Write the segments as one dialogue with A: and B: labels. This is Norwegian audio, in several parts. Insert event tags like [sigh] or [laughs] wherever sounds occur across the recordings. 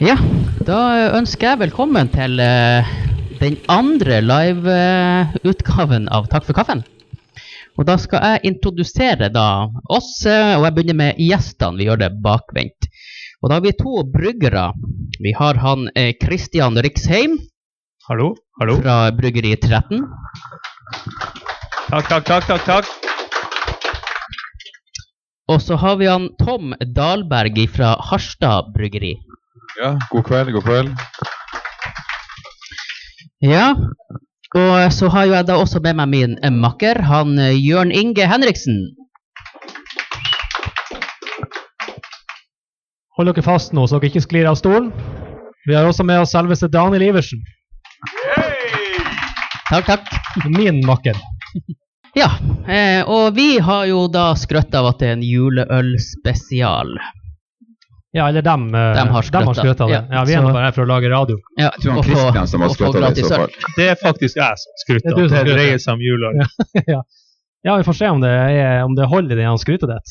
A: Ja, da ønsker jeg velkommen til eh, den andre live-utgaven av Takk for kaffen. Og da skal jeg introdusere da oss, eh, og jeg begynner med gjestene. Vi gjør det bakvendt. Og da har vi to bryggere. Vi har han eh, Christian Riksheim
B: Hallo? Hallo?
A: fra Bryggeri 13.
B: Takk, takk, takk, takk, takk.
A: Og så har vi han Tom Dahlberg fra Harstad Bryggeri.
C: Ja, god kveld, god kveld.
A: Ja, og så har jo jeg da også med meg min eh, makker, han eh, Jørn Inge Henriksen.
B: Hold dere fast nå, så dere ikke sklir av stolen. Vi har også med oss selveste Daniel Iversen,
A: Takk, takk.
B: min makker.
A: Ja, eh, og vi har jo da skrøtt av at det er en juleølspesial.
B: Ja, eller dem,
A: Dem
B: eh,
A: har
B: dem har
A: skrøt
B: skrøt
A: av
B: av det.
A: det.
B: Ja, vi er
A: Så-
B: nå bare her for å lage radio.
A: Ja,
C: Jeg tror han
A: og få-
C: Kristian som har
A: og få
C: skrudd av det i
A: gratis øl.
C: så fall.
D: Det er faktisk jeg som skryter.
B: Det er
D: av
B: du
D: Det, det
B: som skryter.
D: dreier seg om juleøl.
B: Ja, vi får se om det, er, om det holder i det han skryter ditt.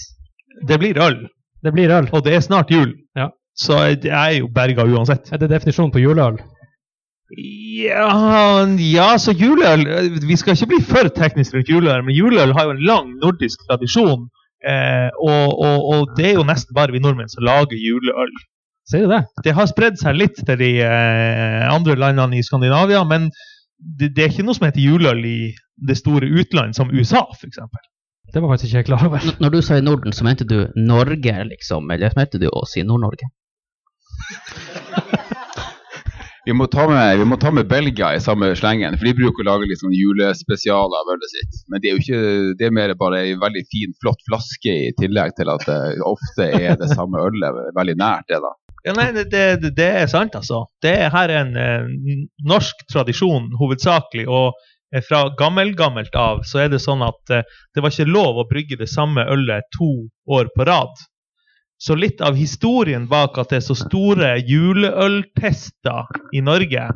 D: Det blir øl,
B: Det blir øl.
D: og det er snart jul.
B: Ja.
D: Så jeg jeg er jo berga uansett.
B: Er det definisjonen på juleøl?
D: Ja, ja, så juleøl eh, Vi skal ikke bli for teknisk rundt juleøl, men juleøl har jo en lang nordisk tradisjon. Eh, og, og, og det er jo nesten bare vi nordmenn som lager juleøl.
B: Sier du det?
D: Det har spredd seg litt til de eh, andre landene i Skandinavia, men det, det er ikke noe som heter juleøl i det store utland, som USA, f.eks.
B: Det var faktisk ikke jeg klar over.
A: N- Når du sa i Norden, så mente du Norge, liksom? Eller mente du oss i Nord-Norge?
C: Vi må, ta med, vi må ta med Belgia i samme slengen, for de bruker å lage litt sånn julespesialer av ølet sitt. Men det er jo ikke, det er mer bare ei veldig fin, flott flaske i tillegg til at det ofte er det samme ølet veldig nært det, da.
D: Ja, nei, det, det, det- det er sant, altså. Det er her en eh, n- norsk tradisjon hovedsakelig. Og eh, fra gammel-gammelt av så er det sånn at eh, det var ikke lov å brygge det samme ølet to år på rad. Så litt av historien bak at det er så store juleøltester i Norge,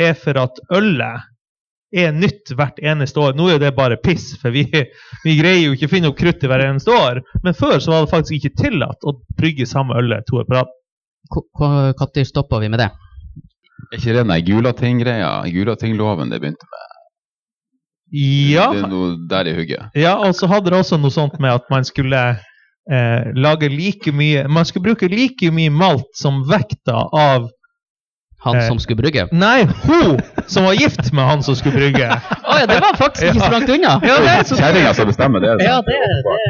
D: er for at ølet er nytt hvert eneste år. Nå er det bare piss, for vi, [laughs] vi greier jo ikke å finne opp kruttet hvert eneste år. Men før så var det faktisk ikke tillatt å brygge samme ølet to år på rad.
A: Når stoppa vi med det?
C: Er ikke det den der Gulating-greia? Gulating-loven det begynte med?
D: Ja,
C: Det er noe der i hugget.
D: ja, og så hadde det også noe sånt med at man skulle eh, lage like mye Man skulle bruke like mye malt som vekta av
A: Han
D: Eh.
A: som skulle brygge?
D: Nei, hun som var gift med han som skulle brygge.
A: Å ja, det var faktisk ikke så langt unna!
D: Ja, det er så
C: Kjerringa som bestemmer det.
A: Ja, det-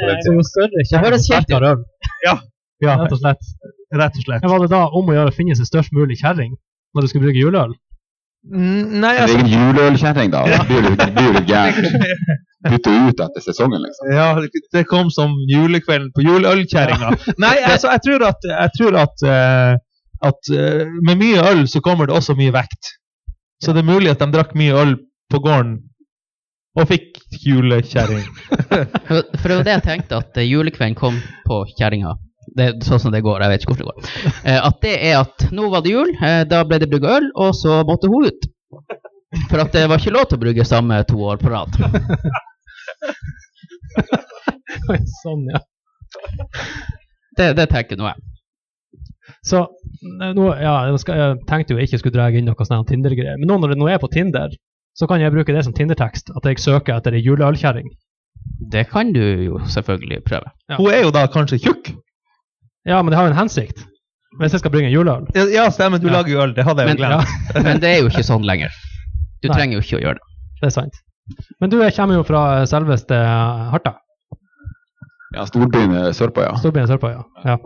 C: det.
B: jo større
A: høres kjekt ut.
B: sterkere øl.
D: ja,
B: Rett og slett.
D: rett og slett.
B: Men Var det da om å gjøre å finne seg størst mulig kjerring når du skulle bruke juleøl? [laughs]
D: N- Nei,
C: Det er
D: altså
C: egen juleølkjerring, da. Det blir jo- det blir jo gærent. Bytte ut etter sesongen, liksom.
D: Ja, det kom som julekvelden på juleølkjerringa. Nei, altså, jeg tror at, jeg tror at, eh, at eh, med mye øl så kommer det også mye vekt. Så det er mulig at de drakk mye øl på gården og fikk julekjerring.
A: For for det var det jeg tenkte, at eh, julekvelden kom på kjerringa. Det er sånn som det går, jeg vet ikke hvorfor det går. Eh, at det er at nå var det jul, eh, da ble det brygga øl, og så måtte hun ut. For at det var ikke lov til å brygge samme to år på rad.
B: sånn, ja.
A: Det, det tenker nå jeg.
B: Så eh, nå, ja, jeg, skal, jeg tenkte jo jeg ikke skulle dra inn noe sånn her Tinder-greier. Men nå når det nå er på Tinder, så kan jeg bruke det som Tinder-tekst. At jeg søker etter ei juleølkjerring.
A: Det kan du jo selvfølgelig prøve.
B: Ja.
D: Hun er jo da kanskje tjukk.
B: Ja, men det har jo en hensikt. Hvis jeg skal bringe en juleøl.
D: Ja, Ja, stemmer, du
B: Ja.
D: lager jo øl. Det hadde jeg
A: Men,
D: jo glemt.
A: men det er jo ikke sånn lenger. Du
B: Nei.
A: trenger jo ikke å gjøre det.
B: Det er sant. Men du jeg kommer jo fra eh, selveste Harta.
C: Ja, Storbyen eh, sørpå, ja.
B: Storbyen sørpå, ja. ja.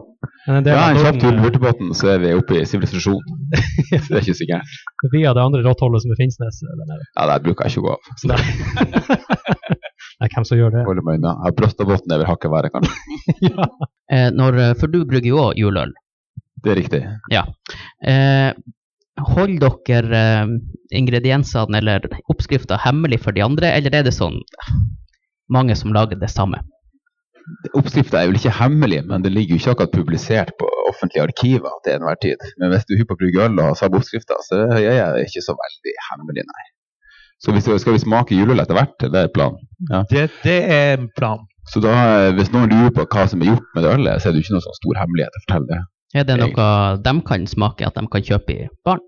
B: Men en del
C: Ja,
B: av
C: en kjapp tur
B: Norden,
C: til Hurtigbåten, så er vi oppe i
D: [laughs]
C: sivilisasjon. Så det er ikke så gærent.
B: eh, via det andre råttholdet som er Finnsnes. eh,
C: [laughs]
B: der nede.
C: Ja, der bruker jeg ikke å gå av. Så der
B: [laughs] Nei, hvem som gjør det?
C: holder jeg meg unna. Jeg har Brøstadbotn er vel hakket verre, kanskje.
B: ja.
A: Eh, når, eh, for du brygger jo òg juleøl.
C: Det er riktig.
A: Eh, hold dere eh, ingrediensene eller oppskrifta hemmelig for de andre, eller er det sånn eh, mange som lager det samme?
C: Oppskrifta er vel ikke hemmelig, men det ligger jo ikke akkurat publisert på offentlige arkiver til enhver tid. Men hvis du er hypp på å brygge øl og har samme oppskrifta, så er jeg ikke så veldig hemmelig, nei. Så hvis, skal vi smake juleøl etter hvert? Det er planen.
D: Det, det er en plan.
C: Så da, eh, hvis noen lurer på hva som er gjort med det ølet, så er det jo ikke noen sånn stor hemmelighet å fortelle det.
A: Er det noe de kan smake at de kan kjøpe i baren?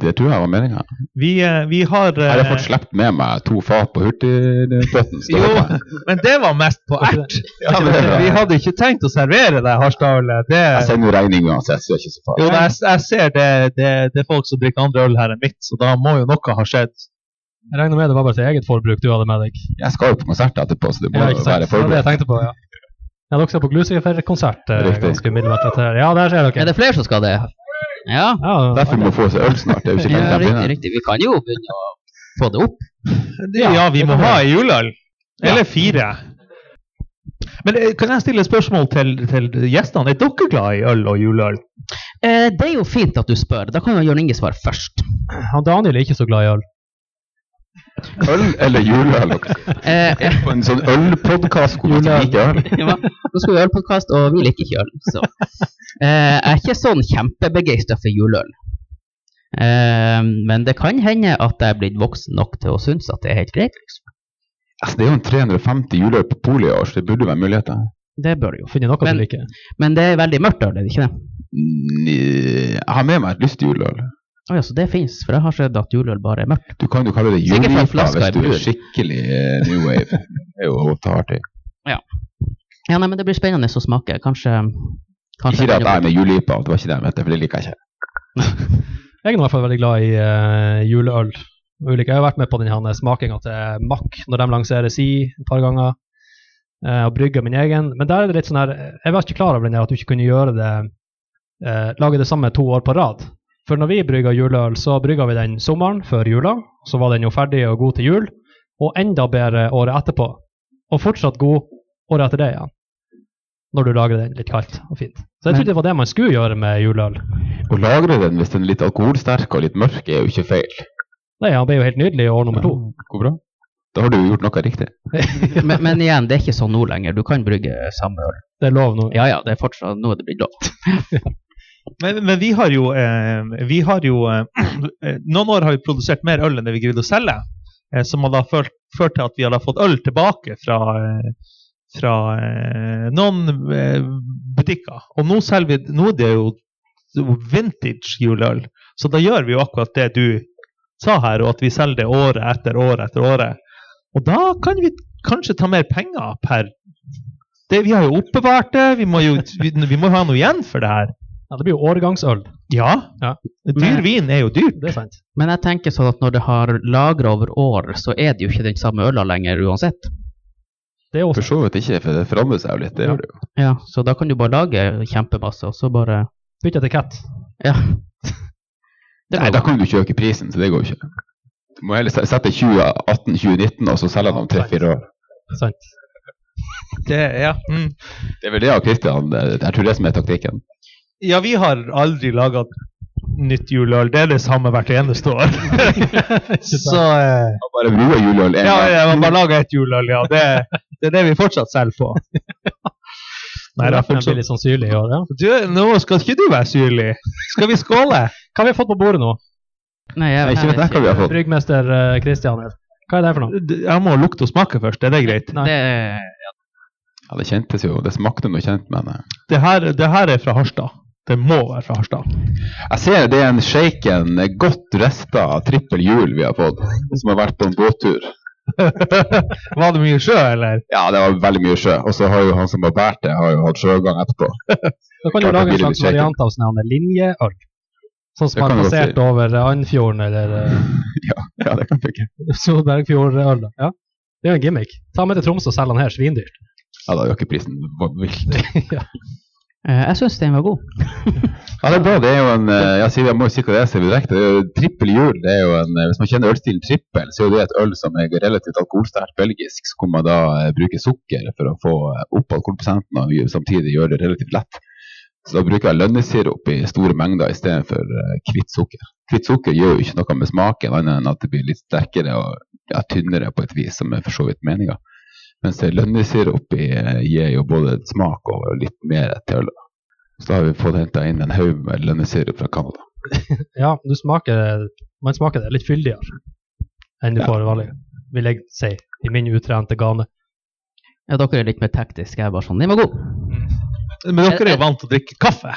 C: Det tror jeg var meninga.
D: Vi, eh, vi har eh,
C: Jeg har fått slept med meg to fat på Hurtigbøten. står
D: Jo,
C: det på.
D: men det var mest på ert.
C: Ja, det Altså, er bra.
D: Vi hadde ikke tenkt å servere deg, Harstadølet. Det,
C: Jeg sender jo regning uansett, så det er ikke så
D: jo,
C: farlig.
D: da, jeg, jeg ser det, det, det er folk som drikker andre øl her enn mitt, så da må jo noe ha skjedd.
B: Jeg regner med det var bare til eget forbruk du hadde med deg.
C: Jeg skal jo på konsert etterpå, så det må
B: Ja,
C: jo
B: ikke sant? Det
C: være
B: var det jeg
C: forberedt.
B: tenkte på, ja. Ja, dere skal på Glucifer-konsert eh,
C: Riktig.
B: ganske umiddelbart etter her. Ja, der ser
A: Er
B: dere.
A: det flere som skal det? Ja,
B: Ja,
C: Derfor må vi få oss øl snart. Det er jo ikke lenge
A: ja
C: til jeg
A: riktig,
C: begynner.
A: riktig. Vi kan jo begynne å få det opp.
D: Det, ja, vi må ha ei juleøl. Eller fire. Men eh, kan jeg stille et spørsmål til, til gjestene? Er dere glad i øl og juleøl?
A: Eh, det er jo fint at du spør. Da kan jo Jørn Inge svare først.
B: han Daniel er ikke så glad i øl.
C: Øl eller juleøl? dere?
A: Eh, eh,
C: På en sånn ølpodkast hvor man skal drikke øl.
A: ja, nå skal vi ha ølpodkast, og vi liker ikke øl. Så. Eh, jeg er ikke sånn kjempebegeistra for juleøl. Eh, men det kan hende at jeg er blitt voksen nok til å synes at det er helt greit. Liksom.
C: Altså, det er jo en 350 juleøl på polet i år, så det burde være muligheter.
A: Det bør det jo.
B: Finner noe
A: Men-
B: du liker.
A: Men det er veldig mørkt øl, er det ikke det?
C: Mm, Jeg har med meg et lyst juleøl.
A: Å ja, så det fins, for jeg har sett at juleøl bare er mørkt.
C: Du kan jo kalle det
A: Sikkert fra
C: juleøl
A: flaska
C: hvis
A: i
C: du er
A: brun.
C: skikkelig eh, new wave. Det er jo å ta hardt i.
A: Ja, nei, men det blir spennende å smake. Kanskje, kanskje
C: Ikke det at jeg er med julejipa, det var ikke det jeg mente, for det liker jeg ikke.
B: Jeg er i hvert fall veldig glad i eh, juleøl. Ulike. Jeg har vært med på den smakinga til Mack når de lanserer si et par ganger. eh, og brygger min egen. Men der er det litt sånn her Jeg var ikke klar over den der at du ikke kunne gjøre det eh, lage det samme to år på rad. For når vi brygger juleøl, så brygger vi den sommeren før jula. Så var den jo ferdig og god til jul. Og enda bedre året etterpå. Og fortsatt god året etter det igjen. Når du lager den litt kaldt og fint. Så jeg
A: Men-
B: trodde det var det man skulle gjøre med juleøl.
C: Å lagre den hvis den er litt alkoholsterk og litt mørk, er jo ikke feil.
B: Nei, han ble jo helt nydelig i år nummer to.
C: Går bra? Da har du jo gjort noe riktig.
A: men, men igjen, det er ikke sånn nå lenger. Du kan brygge samme øl.
B: Det er lov nå.
A: Ja ja, det er fortsatt nå er det blitt lov.
D: Men, men vi har jo, eh, vi har jo eh, [clears throat] Noen år har vi produsert mer øl enn det vi greide å selge. Eh, som har da ført, ført til at vi har da fått øl tilbake fra, eh, fra eh, noen eh, butikker. Og nå selger vi Nå er det jo vintage juleøl. Så da gjør vi jo akkurat det du sa her, og at vi selger det året etter året etter året. Og da kan vi kanskje ta mer penger per det, Vi har jo oppbevart det, vi må jo vi, vi må ha noe igjen for det her.
B: Ja, det blir jo årgangsøl.
D: Ja.
B: Ja.
D: Dyr vin er jo dyrt.
B: Det er sant.
A: Men jeg tenker sånn at når det har lagra over år, så er det jo ikke den samme øla lenger uansett.
B: Det er også
C: For så vidt ikke, for det forandrer seg jo litt. Det gjør det jo.
A: Ja, Så da kan du bare lage kjempemasse, og så bare
B: bytte etikett.
A: Ja. Det
C: Nei,
A: var
C: da kan du ikke øke prisen, så det går jo ikke. Du må heller se- sette 2018-2019, og så selge den om tre-fire år. [laughs]
B: Sant.
D: Det, ja. Mm.
C: Det er vel det av Christian, eh, jeg tror det som er taktikken.
D: ja, vi har aldri laga nytt juleøl. Det er det samme hvert eneste [laughs] år. Så eh, Mm.
C: Å Bare bruke juleøl en
D: ja,
C: gang.
D: ja, man bare lager ett juleøl, ja. Det, det er det vi fortsatt selger på. Nei, da,
B: Den blir litt sånn syrlig i år, ja.
D: du, nå skal ikke du være syrlig. Skal vi skåle?
B: Hva har vi fått på bordet nå?
A: Nei,
C: Nei,
A: jeg,
C: ikke vet jeg hva vi har fått.
B: Bryggmester eh, Christian her. Hva er det for noe?
D: D- Jeg må lukte og smake først. Er det greit?
B: Nei.
A: det,
C: Ja, det kjentes jo, det smakte noe kjent eh, med det.
D: Det her, det her er fra Harstad. Det må være fra Harstad. [laughs]
C: Jeg ser det er en shaken, eh, godt resta trippel hjul vi har fått, som har vært på en båttur.
D: Var det mye sjø, eller?
C: Ja, det var veldig mye sjø. Og så har jo han som har båret det, har jo hatt sjøgang etterpå.
B: Da kan du
C: Klart
B: lage
C: det
B: en
C: blir
B: slags
C: litt kjekt.
B: variant av sånn her linjeøl. Sånn som
C: Det
B: er
C: kan vi godt
B: plassert
C: si.
B: over eh, Andfjorden eller eh, [laughs]
C: Ja, det kan funke.
B: Solbergfjordøl. da. Ja. Det er jo en gimmick. Ta med til Tromsø og selg den her, svindyrt.
C: Ja, da øker prisen vilt.
A: eh, jeg syns den var god.
C: Ja, det er bra. Det er jo en eh, Ja, Siv, jeg må jo si hva det er, så vi direkte. Det er jo trippel hjul. Det er jo en eh, Hvis man kjenner ølstilen trippel, så er jo det et øl som er relativt alkoholsterkt belgisk, så kan man da eh, bruke sukker for å få eh, opp alkoholprosenten og gjøre- samtidig gjøre det relativt lett. Så da bruker jeg lønnesirup i store mengder istedenfor eh, hvitt sukker. Hvitt sukker gjør jo ikke noe med smaken, annet enn at det blir litt sterkere og ja, tynnere på et vis, som er for så vidt meninga. Mens eh, lønnesirup i, eh, gir jo både smak og litt mer til øl. Så da har vi fått henta inn en haug med lønnesirup fra Canada.
B: Ja, du smaker, man smaker det litt fyldigere enn du
C: Ja.
B: får vanlig, vil jeg si, i min utrente gane.
A: Ja, dere er litt mer taktiske. Jeg er bare sånn Den var god.
D: Men dere er jo vant til å drikke kaffe.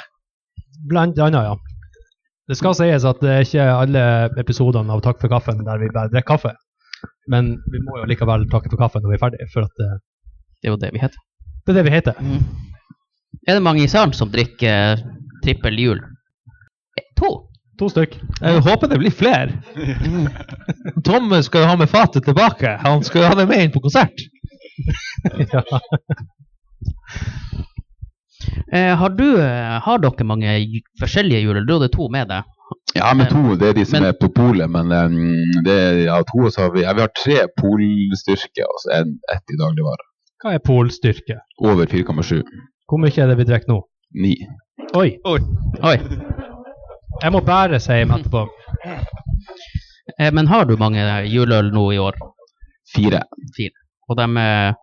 B: Blant annet, ja. Det skal sies at det er ikke alle episodene av Takk for kaffen der vi bare drikker kaffe. Men vi må jo likevel takke for kaffen når vi er ferdig, for at eh,
A: Det er jo det vi heter.
B: det er det vi heter.
A: Mm. Er det mange i salen som drikker eh, trippel jul? Eh, To.
B: To stykk. Eh,
D: Jeg håper det blir flere. Tom skal jo ha med fatet tilbake. Han skal jo ha det med inn på konsert.
B: ja.
A: Eh, har, du, eh, har dere mange ju- forskjellige jul? Du hadde to med deg.
C: Ja, men to det er de som
A: Men-
C: er på polet. Men em, det er ja, to, og så har vi, ja, vi har tre polstyrker og så en- ett i dagligvare.
B: Hva er polstyrke?
C: Over 4,7.
B: Hvor mye er det vi drikker nå?
C: Ni.
B: Oi,
A: Oi.
B: jeg må bare si hjem etterpå.
A: Eh, men har du mange juleøl nå i år?
C: Fire.
A: Og de eh,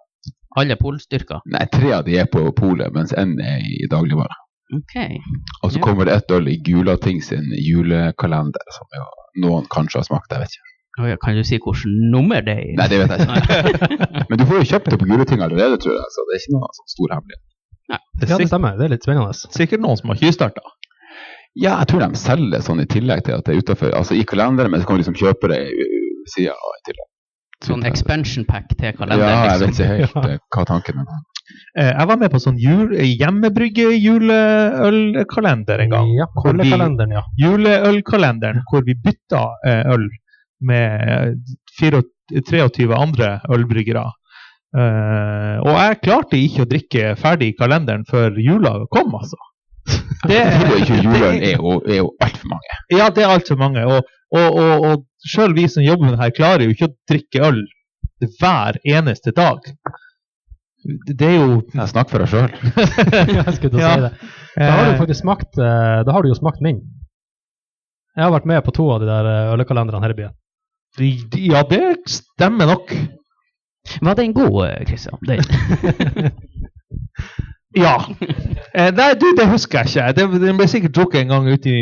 A: alle polstyrker?
C: Nei, tre av de er på polet, mens én er i dagligvare.
A: Ok.
C: Og så
A: Ja.
C: kommer det ett øl i Gulating sin julekalender, som jo noen kanskje har smakt. jeg vet ikke.
A: Oi, Kan du si hvilket nummer det er? i?
C: [laughs] Nei, det vet jeg
A: [laughs]
C: ikke. Men du får jo kjøpt det på Gulating allerede, tror jeg, så det er ikke noe sånn stor hemmelighet.
D: Det
B: Ja,
D: er
B: det
D: sikkert,
B: stemmer. Det er litt spennende.
D: sikkert noen som har tjuvstarta.
C: Ja, jeg tror de selger det sånn i tillegg til at det er utenfor, altså i kalenderen, men så kan du liksom kjøpe det i sida i tillegg.
A: Sånn expansion pack til kalender?
C: Ja,
A: liksom.
C: jeg vet ikke helt eh, hva tanken er.
D: Eh, Jeg var med på sånn jul, hjemmebrygge-juleølkalender en gang.
B: Ja,
D: Hvor vi- [laughs]
B: julekalenderen, ja.
D: Juleølkalenderen hvor vi bytta eh, øl med eh, 24 23 andre ølbryggere. Eh, og jeg klarte ikke å drikke ferdig kalenderen før jula kom, altså. Det,
C: Juleøl er jo, er jo altfor mange.
D: Ja, det er altfor mange. Og, og, og, og sjøl vi som jobber med det her, klarer jo ikke å drikke øl hver eneste dag. Det er jo [laughs]
C: Jeg snakker for deg sjøl.
B: Jeg skulle til å si
D: Ja.
B: det. Da har du
D: eh,
B: faktisk smakt, eh, da har du jo smakt min. Jeg har vært med på to av de der eh, ølkalenderne her i
D: Eh,
B: byen.
D: de- de- Ja, det stemmer nok.
A: Var den god, eh, Christian? Den.
D: Ja. Eh, Nei, du, det husker jeg ikke. Det- Den ble sikkert drukket en gang ut i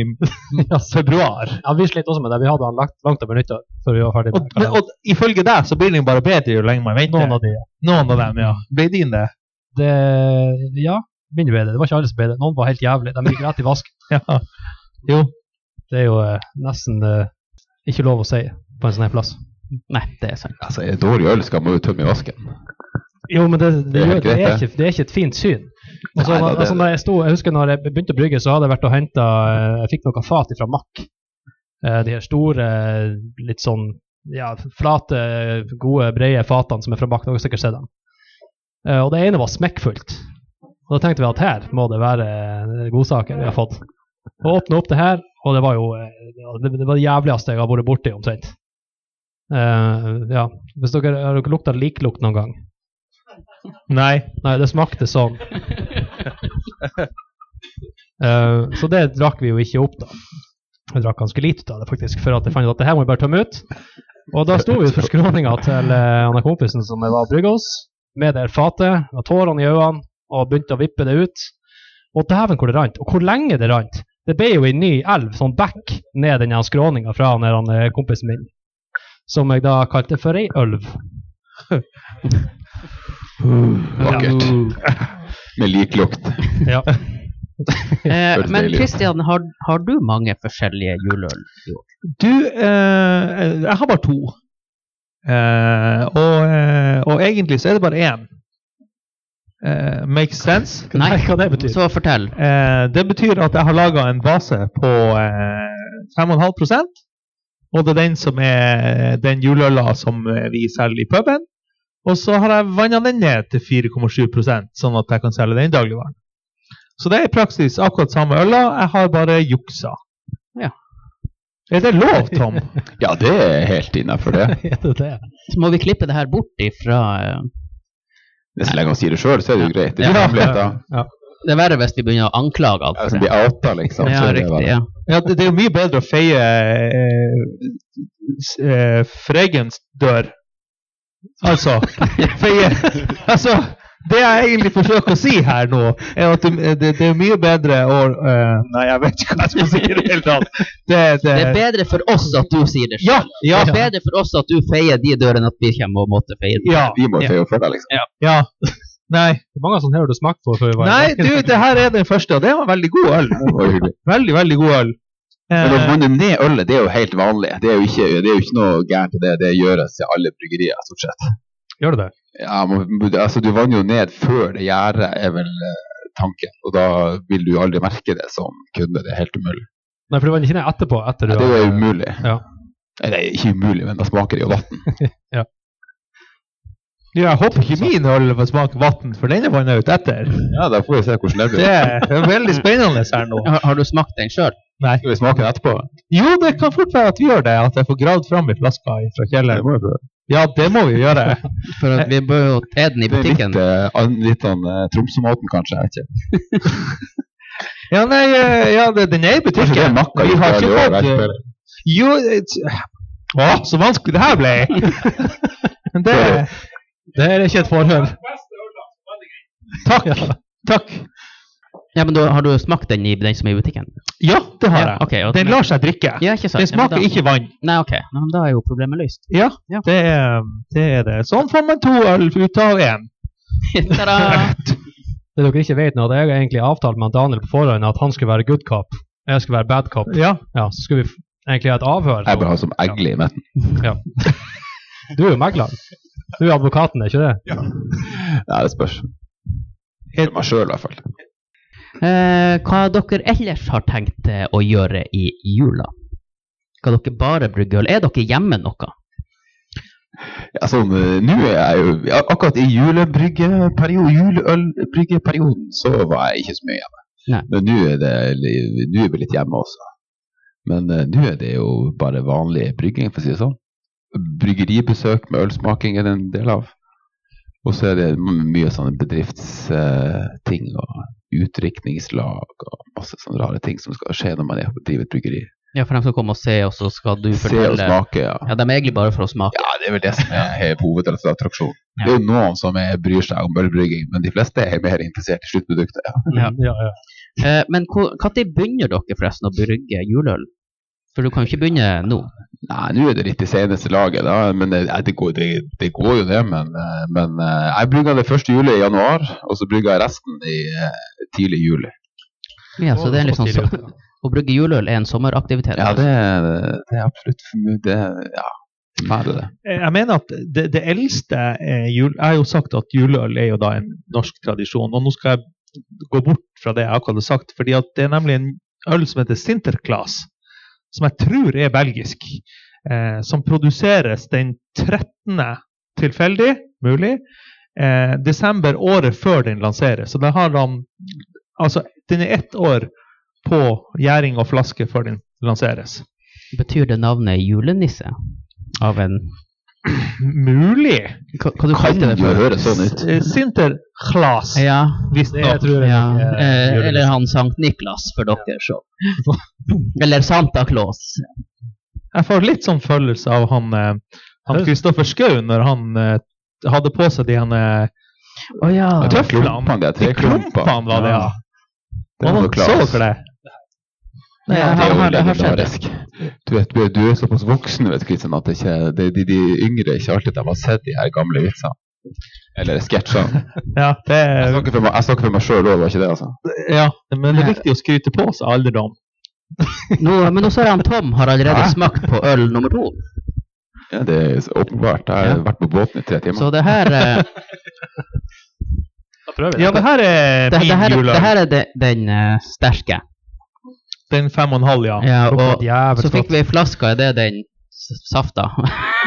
D: februar.
B: Ja, Vi slet også med det. Vi hadde han lagt langt over nyttår før vi var ferdig
D: Og,
B: med
D: men,
B: kalenderen.
D: og ifølge deg så blir den bare bedre jo lenger man venter.
B: Noen av de, ja.
D: Noen av dem, ja. Ble din det?
B: det, ja, min bedre. Det var ikke alle som bedre. Noen var helt jævlig. De gikk rett i [laughs] vask.
D: Ja. Jo.
B: Det er jo eh, nesten eh, ikke lov å si på en sånn her plass.
A: [laughs] Nei, det er sant.
C: Altså, er det dårlig øl skal man jo tømme i vasken.
B: Jo, men det,
C: Det
B: det,
C: er helt
B: gjør- det, er,
C: greit,
B: ikke, det er ikke et fint syn. Og så
C: Nei,
B: var-
C: da, det-
B: altså, når jeg, sto, jeg husker når jeg begynte å brygge, så hadde jeg vært og henta Jeg fikk noen fat fra Mack. Eh, De her store, litt sånn ja, flate, gode, brede fatene som er fra Mack. Dere har sikkert sett dem. Eh, Og det ene var smekkfullt. Og da tenkte vi at her må det være eh, godsaker vi har fått. Og åpna opp det her, og det var jo eh, ja, det, det var det jævligste jeg har vært borti, omtrent. Eh, ja. Hvis dere har dere lukta liklukt noen gang?
D: Nei.
B: Nei, det smakte sånn. Eh, så det drakk vi jo ikke opp, da. Jeg drakk ganske lite av det, faktisk, for at jeg fant ut at det her må jeg bare tømme ut. Og da sto vi for skråninga til eh, han der kompisen som jeg var og brygga hos, med det her fatet, og tårene i øynene, og begynte å vippe det ut. Og dæven, hvor det rant. Og hvor lenge det rant. Det ble jo ei ny elv, sånn bekk, ned den skråninga fra han der han, eh, kompisen min, som jeg da kalte for ei ølv.
C: Vakkert. Med lik lukt.
B: Ja.
C: [laughs]
A: Eh,
C: Føles
A: men
C: deilig.
A: Christian, har, har du mange forskjellige juleøl?
D: Du, eh, jeg har bare to. Eh, og, eh, og egentlig så er det bare én. Eh, makes sense.
A: Nei,
B: hva det betyr?
A: så fortell.
D: Eh, det betyr at jeg har laga en base på eh, 5,5 og det er den som er den juleøla som eh, vi selger i puben. Og så har jeg vanna den ned til 4,7 sånn at jeg kan selge den i dagligvaren. Så det er i praksis akkurat samme øla, jeg har bare juksa.
A: Ja.
D: Er det lov, Tom?
C: Ja, det er helt innafor, det.
B: Er det det?
A: Så må vi klippe det her bort ifra eh,
C: Men Så lenge han sier det sjøl, så er det jo greit. Det er
A: Ja.
C: ikke hemmelighet, da.
A: Det er verre hvis vi begynner å anklage alt.
C: Altså,
A: for
C: de
A: det.
C: outa, liksom.
A: Ja,
C: så er det
A: riktig.
C: bare-
A: Ja.
D: Ja, det, det er jo mye bedre å feie eh, s- eh, for egen dør. [laughs] Altså feie, Altså, det jeg egentlig forsøker å si her nå, er at det, det, det er mye bedre å eh, Nei, jeg vet ikke hva jeg skal si i det hele tatt. Det, det,
A: Det er bedre for oss at du sier det. selv.
D: ja, ja,
A: Det er bedre for oss at du feier de dørene at vi kommer og måtte feie de.
D: ja,
C: Vi må
D: ja,
C: feie opp for deg, liksom.
D: ja. Nei,
B: Det er mange sånne her du smakte på før vi var i
D: Nei du,
B: markedet.
D: det her er den første, og det var veldig god øl.
C: Det var hyggelig.
D: Veldig, veldig god øl.
C: Men å
D: Eh,
C: blande ned ølet, det er jo helt vanlig. Det er jo ikke, det er jo ikke noe gærent i det. Det gjøres i alle bryggerier, stort sett.
B: Gjør du det?
C: Ja, man, altså Du vanner jo ned før det gjerdet, er vel eh, tanken. Og da vil du aldri merke det som kunde. Det er helt umulig.
B: Nei, for du vant ikke ned etterpå? Etter du
C: Nei, det er
B: har-
C: jo umulig.
B: Ja.
C: Nei, det er ikke umulig, men da smaker det jo vann.
D: jeg håper ikke min øl får smake vann, for den er vanna ut etter.
C: Ja, da får vi se hvordan det
D: Det
C: blir.
D: er veldig spennende her nå.
A: Har, har du smakt den sjøl?
C: Skal vi smake den etterpå?
D: Jo, det kan fort være at vi gjør det, at jeg får gravd fram i flaska fra
C: Det
D: kjelleren.
C: må vi prøve.
D: Ja, det må vi
A: [laughs]
D: gjøre.
A: For
D: Eh,
A: at vi bør jo te den i
C: Det er litt,
A: butikken.
C: eh, an- litt sånn eh, Tromsø-måten, kanskje. Jeg vet ikke.
D: Ja, nei, eh, ja, det, den er i
C: Kanskje det er
D: butikken.
C: makka
D: Vi
C: i
D: har
C: år i
D: ikke
C: år.
D: fått
C: jeg
D: eh,
C: føler.
D: Jo eh, t- Å, så vanskelig det her ble! Men det,
B: Det er ikke et forhør.
D: takk. Takk.
A: Ja, men da har du smakt den i den som er i butikken?
D: Ja, det har
A: Ja,
D: jeg.
A: ok, og
D: Den lar seg drikke.
A: ja, ikke sant.
D: Den smaker
A: ja, men da,
D: ikke vann.
A: Nei, ok. Ja, men da er jo problemet løst.
D: [laughs] Ja,
A: Ja.
D: Det, er, det er det. Sånn får man to øl ut av én.
A: Ta-da!
B: Det dere ikke vet nå, det er jo egentlig avtalt med Daniel på forhånd at han skulle være good cop, og jeg skulle være bad cop.
D: Ja.
B: Ja, så skulle vi f- egentlig ha et avhør.
C: Jeg bare har som egle i midten.
B: Du er jo megler. Du er advokaten, er ikke det?
C: Nei, det spørs. Helt meg sjøl, i hvert fall.
A: Eh, hva dere ellers har tenkt eh, å gjøre i jula? Skal dere bare brygge øl? Er dere hjemme noe?
C: Ja, sånn, eh, nå er jeg jo ja, Akkurat i julebryggeperioden, juleølbryggeperioden, så var jeg ikke så mye hjemme.
A: Nei.
C: Men nå er, det, li- nå er vi litt hjemme også. Men eh, nå er det jo bare vanlig brygging, for å si det sånn. Bryggeribesøk med ølsmaking er det en del av. Og så er det m- mye sånne bedriftsting og utdrikningslag og masse sånne rare ting som skal skje når man er på driver et bryggeri.
A: Ja, for de skal komme og se, og så skal du
C: Se og
A: fortelle
C: smake, ja.
A: Ja, de er egentlig bare for å smake.
C: Ja, det er vel det som er he- hovedattraksjonen.
A: Ja.
C: Det er jo noen som er, bryr seg om ølbrygging, men de fleste er mer interessert i sluttproduktet. Ja.
A: Ja.
B: ja, ja.
A: Eh, men når begynner dere forresten å brygge juleøl? For du kan jo ikke begynne nå.
C: Nei, nå er det litt i seneste laget, da, men det, nei, det, går, det, det går jo det. Men, eh, men eh, jeg brygga det første julet i januar, og så brygga jeg resten i eh, tidlig juli.
A: Ja, så det er litt sånn
B: tidlig,
A: som- [laughs] Å brygge juleøl er en sommeraktivitet.
C: Ja, det, det er absolutt for mye. Det, ja, mer det.
D: Eh, Jeg mener at det, det eldste eh, jul, Jeg har jo sagt at juleøl er jo da en norsk tradisjon. Og nå skal jeg gå bort fra det jeg akkurat har sagt, fordi at det er nemlig en øl som heter Sinterklaas, som jeg tror er belgisk, eh, som produseres den 13. tilfeldig, mulig, eh, desember året før den lanseres. Så det har de, altså, den er ett år på gjæring og flaske før den lanseres.
A: Betyr det navnet julenisse? Av en
D: Mulig!
A: Hva, hva du
C: Kan
A: kalte det
C: jo
A: for?
C: høres sånn ut.
D: S- Sinterklaas.
A: Ja,
D: Hvis
B: Det jeg tror jeg
A: ja.
B: nok, eh,
A: Eh,
B: gjør det.
A: Eller han Sankt Niklas, for dere, så. [laughs] Eller Santa Claus.
D: Jeg får litt sånn følelse av han, eh, han Kristoffer Schou når han eh, hadde på seg de han, eh,
A: Å ja.
C: Jeg tror
D: tøflene.
C: klumpene, det er tre
D: de
C: klumper.
D: klumpene, var det, ja.
C: Det er
D: Og
C: noe
D: han- så
C: klart.
D: dere det?
A: Nei, jeg
C: Det
A: har,
C: er jo
A: har, har sett det.
C: legendarisk. Du vet, du er- du er såpass voksen vet, Kristian, at det ikke, det, de, de yngre ikke alltid de har sett de her gamle vitsene. Eller
D: [laughs]
C: sketsjene.
D: Ja, det
C: Jeg
D: er,
C: snakker for meg- jeg snakker for meg sjøl òg, var ikke det? altså?
D: ja, men Altså, det er viktig å skryte på seg alderdom.
A: Nå, men nå ser jeg han Tom har allerede
C: Hæ?
A: smakt på øl nummer to.
C: Ja, det er så åpenbart. Jeg har vært på båten i tre timer.
A: Så det her eh,
B: Da prøver vi
D: Ja, det her er
A: Det, det,
D: min
A: her, det
D: juleøl.
A: her er de, den eh, sterke.
D: Den fem og en halv, ja.
A: Ja, og så
B: Jævlig
A: fikk
B: godt.
A: vi ei flaske. Er det den s- safta?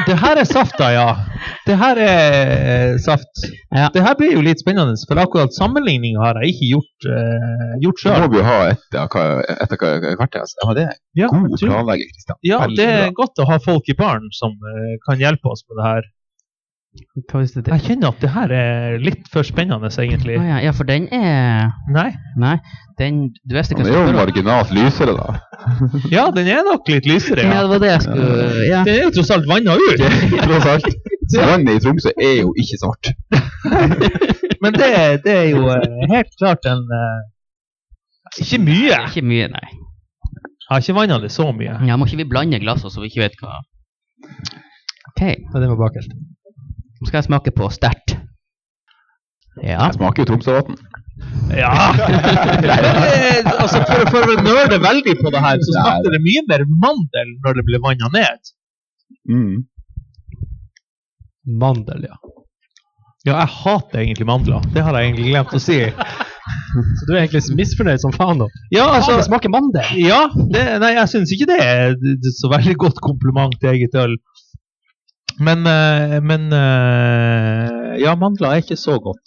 D: Det her er safta, ja. Det her er eh, saft.
A: Ja.
D: Det her blir jo litt spennende, for akkurat sammenligninga har jeg ikke gjort, eh, gjort
C: Så
D: sjøl.
C: må vi jo ha et av hva- et av hva- kartet. Altså. Ja, men det er
D: Ja,
C: god
D: jeg tror-
C: planlegging, Kristian.
D: Ja,
C: Veldig
D: det er
C: bra.
D: godt å ha folk i baren som eh, kan hjelpe oss med det her.
A: Hva visste det?
D: Jeg kjenner at det her er litt for spennende, egentlig.
A: Å ja, ja, for den er
D: Nei.
A: Nei, den Du visste
C: Den
A: hva
C: er jo
A: jeg skulle
C: marginalt lysere,
D: [laughs]
C: da.
D: Ja, den er nok litt lysere,
A: Ja,
D: ja.
A: det var det jeg skulle Ja.
D: Den er jo tross alt vanna ut.
C: Tross alt. Strendene i Tromsø er jo ikke svart.
D: Men det, det er
A: [laughs]
D: jo eh, helt klart en eh, Ikke mye.
A: Ikke mye, nei.
D: Jeg har ikke vanna det så mye.
A: Ja, må ikke vi blande glassene så vi ikke vet hva OK,
B: Ja, det var bakerst.
A: nå skal jeg smake på sterkt. Ja.
C: Jeg smaker jo Tromsøvatn.
A: [laughs]
D: Ja! Det- altså for, for å nøle veldig på det her, så smakte det mye mer mandel når det ble vanna ned.
C: Mm.
B: Mandel, ja.
D: Ja, jeg hater egentlig mandler. Det har jeg egentlig glemt å si.
B: Så du er egentlig misfornøyd som faen nå?
D: Ja,
B: Altså,
D: altså,
B: det smaker mandel!
D: ja det, nei, jeg syns ikke det er et så veldig godt kompliment til eget øl. Men, eh, men eh, Ja, mandler er ikke så godt.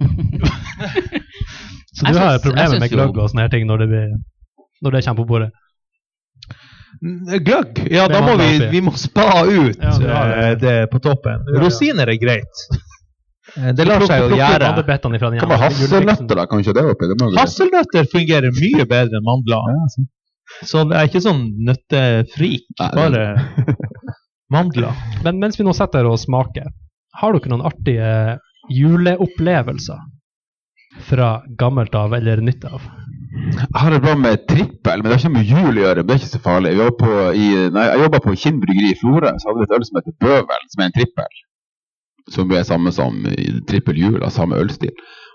B: Så
A: Jeg
B: du har
A: syns- jeg
B: problemer med
A: syns jo-
B: gløgg og sånne her ting når det, blir, når det kommer på bordet?
D: Gløgg! Ja,
B: Det
D: da må
B: mandler
D: vi,
B: oppi.
D: vi må spa ut
B: Ja, du har
D: eh,
B: det.
D: det på toppen.
B: Ja, ja.
D: Rosiner er greit. Eh, Det lar seg jo gjøre.
B: mandelbitene ifra den
C: Hva med
B: jævla liksom. julefiksen.
C: hasselnøtter, da? Kan vi ikke det oppi? Det må jo gå.
D: Hasselnøtter fungerer mye bedre enn mandler.
C: Ja, sant.
D: Så det er ikke sånn nøttefrik,
C: Nei, det-
D: bare mandler.
B: Men mens vi nå sitter og smaker, har dere noen artige juleopplevelser fra gammelt av eller nytt av?
C: Jeg har det bra med trippel, men det har ikke med jul å gjøre. men Det er ikke så farlig. Vi var på, i, nei, jeg jobba på Kinn bryggeri i Florø, så hadde vi et øl som heter Bøvel, som er en trippel. Som er samme som i trippel jul, av samme ølstil.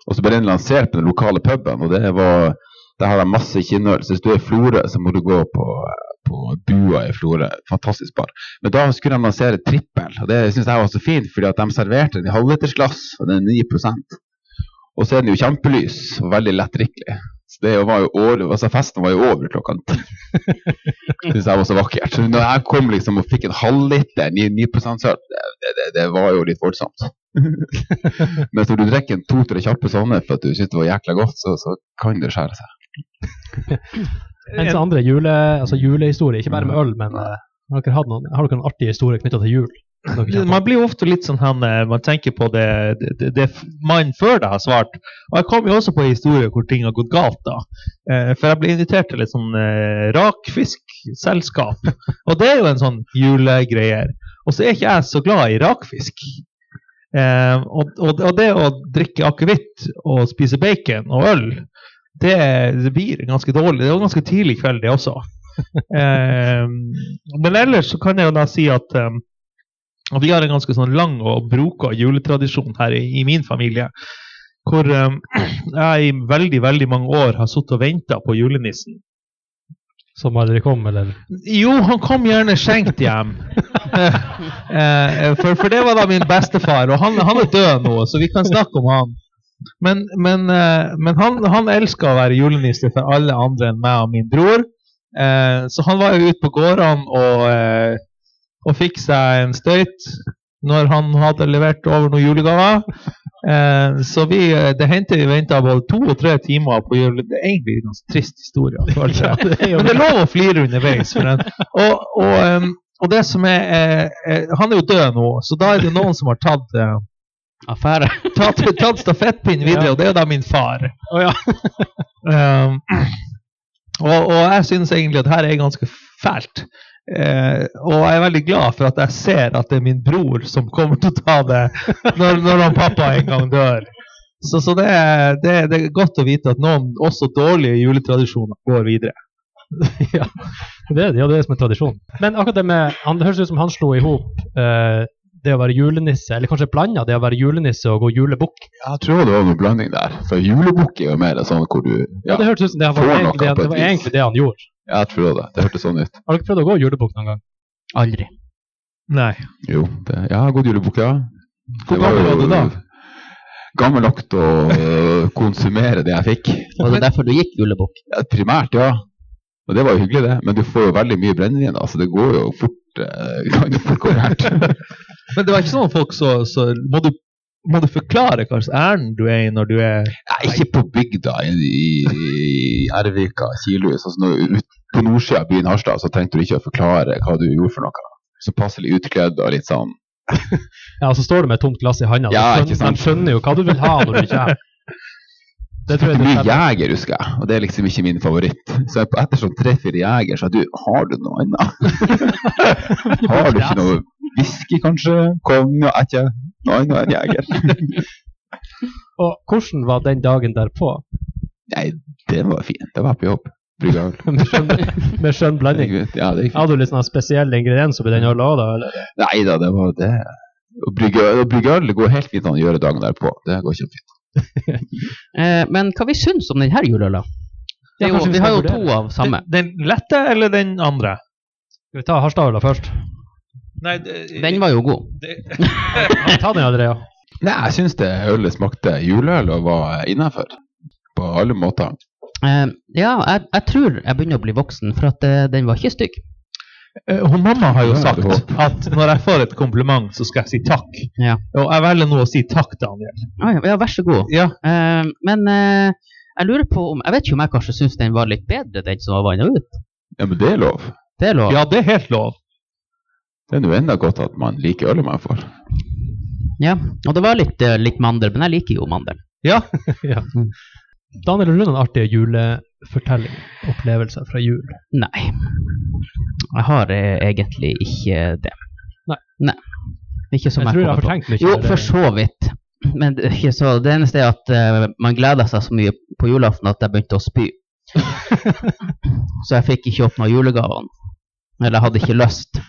C: Og så ble den lansert på den lokale puben, og det var der har de masse kinnøl. Så hvis du er i Florø, så må du gå på, på Bua i Florø. Fantastisk bar. Men da skulle de lansere trippel, og det syns jeg var så fint, fordi at de serverte den i halvlitersglass, og den er 9 Og så er den jo kjempelys og veldig lettdrikkelig. Så det var jo over, altså festen var jo over klokka ti. Syns jeg var så vakkert. Så når jeg kom liksom og fikk en halvliter 9, 9 øl, det, det, det, det var jo litt voldsomt. Men når du drikker en to-tre kjappe sånne for at du syns det var jækla godt, så, så kan det skjære seg.
B: En sånn andre jule, altså julehistorie, ikke bare med øl, men eh, har dere, hatt noen, har dere noen artige historier knytta til jul? Dere kjenner på?
D: Man blir jo ofte litt sånn han eh, Man tenker på det, det, det mannen før deg har svart. Og jeg kom jo også på en historie hvor ting har gått galt, da. Eh, For jeg ble invitert til et sånn eh, rakfiskselskap. [laughs] Og det er jo en sånn julegreier. Og så er ikke jeg så glad i rakfisk. Eh, og, og, og det å drikke akevitt og spise bacon og øl, det, det blir ganske dårlig. Det var ganske tidlig kveld, det også. [laughs] Eh, men ellers så kan jeg jo da si at eh, og vi har en ganske sånn lang og broka juletradisjon her i, i min familie. Hvor eh, [clears throat] jeg i veldig veldig mange år har sittet og venta på julenissen.
B: Som aldri kom,
C: [laughs]
B: eller?
D: Jo, han kom gjerne skjenkt hjem. Eh, for, for det var da min bestefar, og han, han er død nå, så vi kan snakke om han. Men, men, eh, men han, han elska å være julenisse for alle andre enn meg og min bror. Eh, så han var jo ute på gårdene og, eh, og fikk seg en støyt når han hadde levert over noen julegaver. Eh, så vi, eh, det hendte vi venta både to og tre timer på jul. Det er egentlig en ganske trist historie. føler jeg. Men det er lov å flire underveis. For den. Og, og, em, og det som er eh, eh, Han er jo død nå, så da er det noen som har tatt, eh,
A: Affære. [laughs]
D: tatt, tatt stafettpinnen videre,
B: Ja.
D: og det er jo da min far.
B: Å ja.
D: Em, og, og jeg syns egentlig at her er ganske fælt. Eh, og jeg er veldig glad for at jeg ser at det er min bror som kommer til å ta det når, når han pappa en gang dør. Så, så det, er, det, er, det er godt å vite at noen også dårlige juletradisjoner går videre.
B: ja. Det, er- ja, det er som en tradisjon. Men akkurat det med han, Det høres ut som han slo i hop eh, det å være julenisse, eller kanskje blanda det å være julenisse og gå julebukk.
C: Jeg tror det var noe blanding der. For julebukk er jo mer sånn hvor du
B: Ja.
C: Ja,
B: Det hørtes ut som det, var
C: Får
B: egentlig,
C: noe
B: det,
C: på et
B: det var
C: vis.
B: egentlig det han gjorde.
C: jeg tror det. Det hørtes sånn ut.
B: Har dere prøvd å gå julebukk noen gang?
A: Aldri.
D: Nei.
C: Jo, det, jeg har gått julebukk, ja.
D: Hvor
C: Det
D: gammel
C: jo
D: var du da?
C: Gammel nok til å øh, konsumere det jeg fikk.
A: Var det derfor du gikk julebukk?
C: Ja, primært, ja. Og det var jo hyggelig, det. Men du får jo veldig mye brennevin. Altså, det går jo fort. eh, Kan jo fort gå [laughs] gærent.
D: Men det var ikke sånn at folk så, så må, du, må du forklare hva slags ærend du er i når du er
C: Nei, ikke på bygda i, i, i Ervika, Kilhus. Altså, når, ut på nordsida av byen Harstad så trengte du ikke å forklare hva du gjorde for noe. Så passelig utkledd og litt sånn.
B: Ja, Så står du med et tomt glass i handa. De
C: Ja,
B: skjønner-
C: ikke sant.
B: De skjønner jo hva du vil ha når du kommer. Det tror jeg
C: Mye
B: det er.
C: jeger, husker jeg, og det er liksom ikke min favoritt. Så jeg- etter sånn tre-fire jeger, så er du Har du noe annet? Har du ikke noe whisky, kanskje? Konge? Er ikke noe annet enn jeger?
B: Og hvordan var den dagen derpå? [laughs]
C: Nei, det var fint. Det var på jobb. Brygge øl.
B: Med skjønn, med skjønn
C: Det
B: blanding.
C: gikk ut. Ja, det gikk fint.
B: Hadde du litt sånne spesielle ingredienser oppi den øla òg, da? Eller?
C: Nei da, det var det. Å brygge, å brygge øl det går helt fint an å gjøre dagen derpå. Det går kjempefint.
A: Eh, men hva vi syns om denne juleøla? Det er
B: Ja,
A: jo,
B: kanskje vi
A: vi
B: skal
A: har jo
B: vurdere.
A: to av samme.
D: Den, den lette eller den andre?
B: Skal vi ta Harstadøla først?
D: Nei, det-
A: Den var jo god.
D: det-
B: Ja, Ta den, Andrea.
C: Nei, jeg syns det ølet smakte juleøl og var innafor. På alle måter.
A: Eh, ja, jeg, jeg tror jeg begynner å bli voksen, for at eh, den var ikke stygg.
D: Eh, Hun mamma har jo
C: Ja,
D: sagt
C: det håper
D: at når jeg får et kompliment, så skal jeg si takk.
A: Ja.
D: Og jeg velger nå å si takk til Daniel.
A: Ah, ja, ja, vær så god.
D: Ja,
A: Eh, men eh, jeg lurer på om Jeg vet ikke om jeg kanskje syns den var litt bedre, den som var vanna ut.
C: Ja, men det er lov.
A: Det er lov.
D: ja, det er helt lov.
C: Det er nå enda godt at man liker ølet man får.
A: Ja. Og det var litt, eh, litt mandel, men jeg liker jo mandel.
D: Ja,
B: ja. Daniel, har du noen artige julefortellinger? Opplevelser fra jul?
A: Nei. Jeg har eh, egentlig ikke det.
B: Nei.
A: Ikke som
B: jeg
A: jeg,
B: tror jeg
A: kommer
B: har
A: på.
B: fortrengt mye.
A: Jo,
B: av det.
A: for så vidt. Men det, er ikke så, det eneste er at eh, man gleda seg så mye på julaften at jeg begynte å spy. så jeg fikk ikke åpna julegavene. Eller jeg hadde ikke lyst.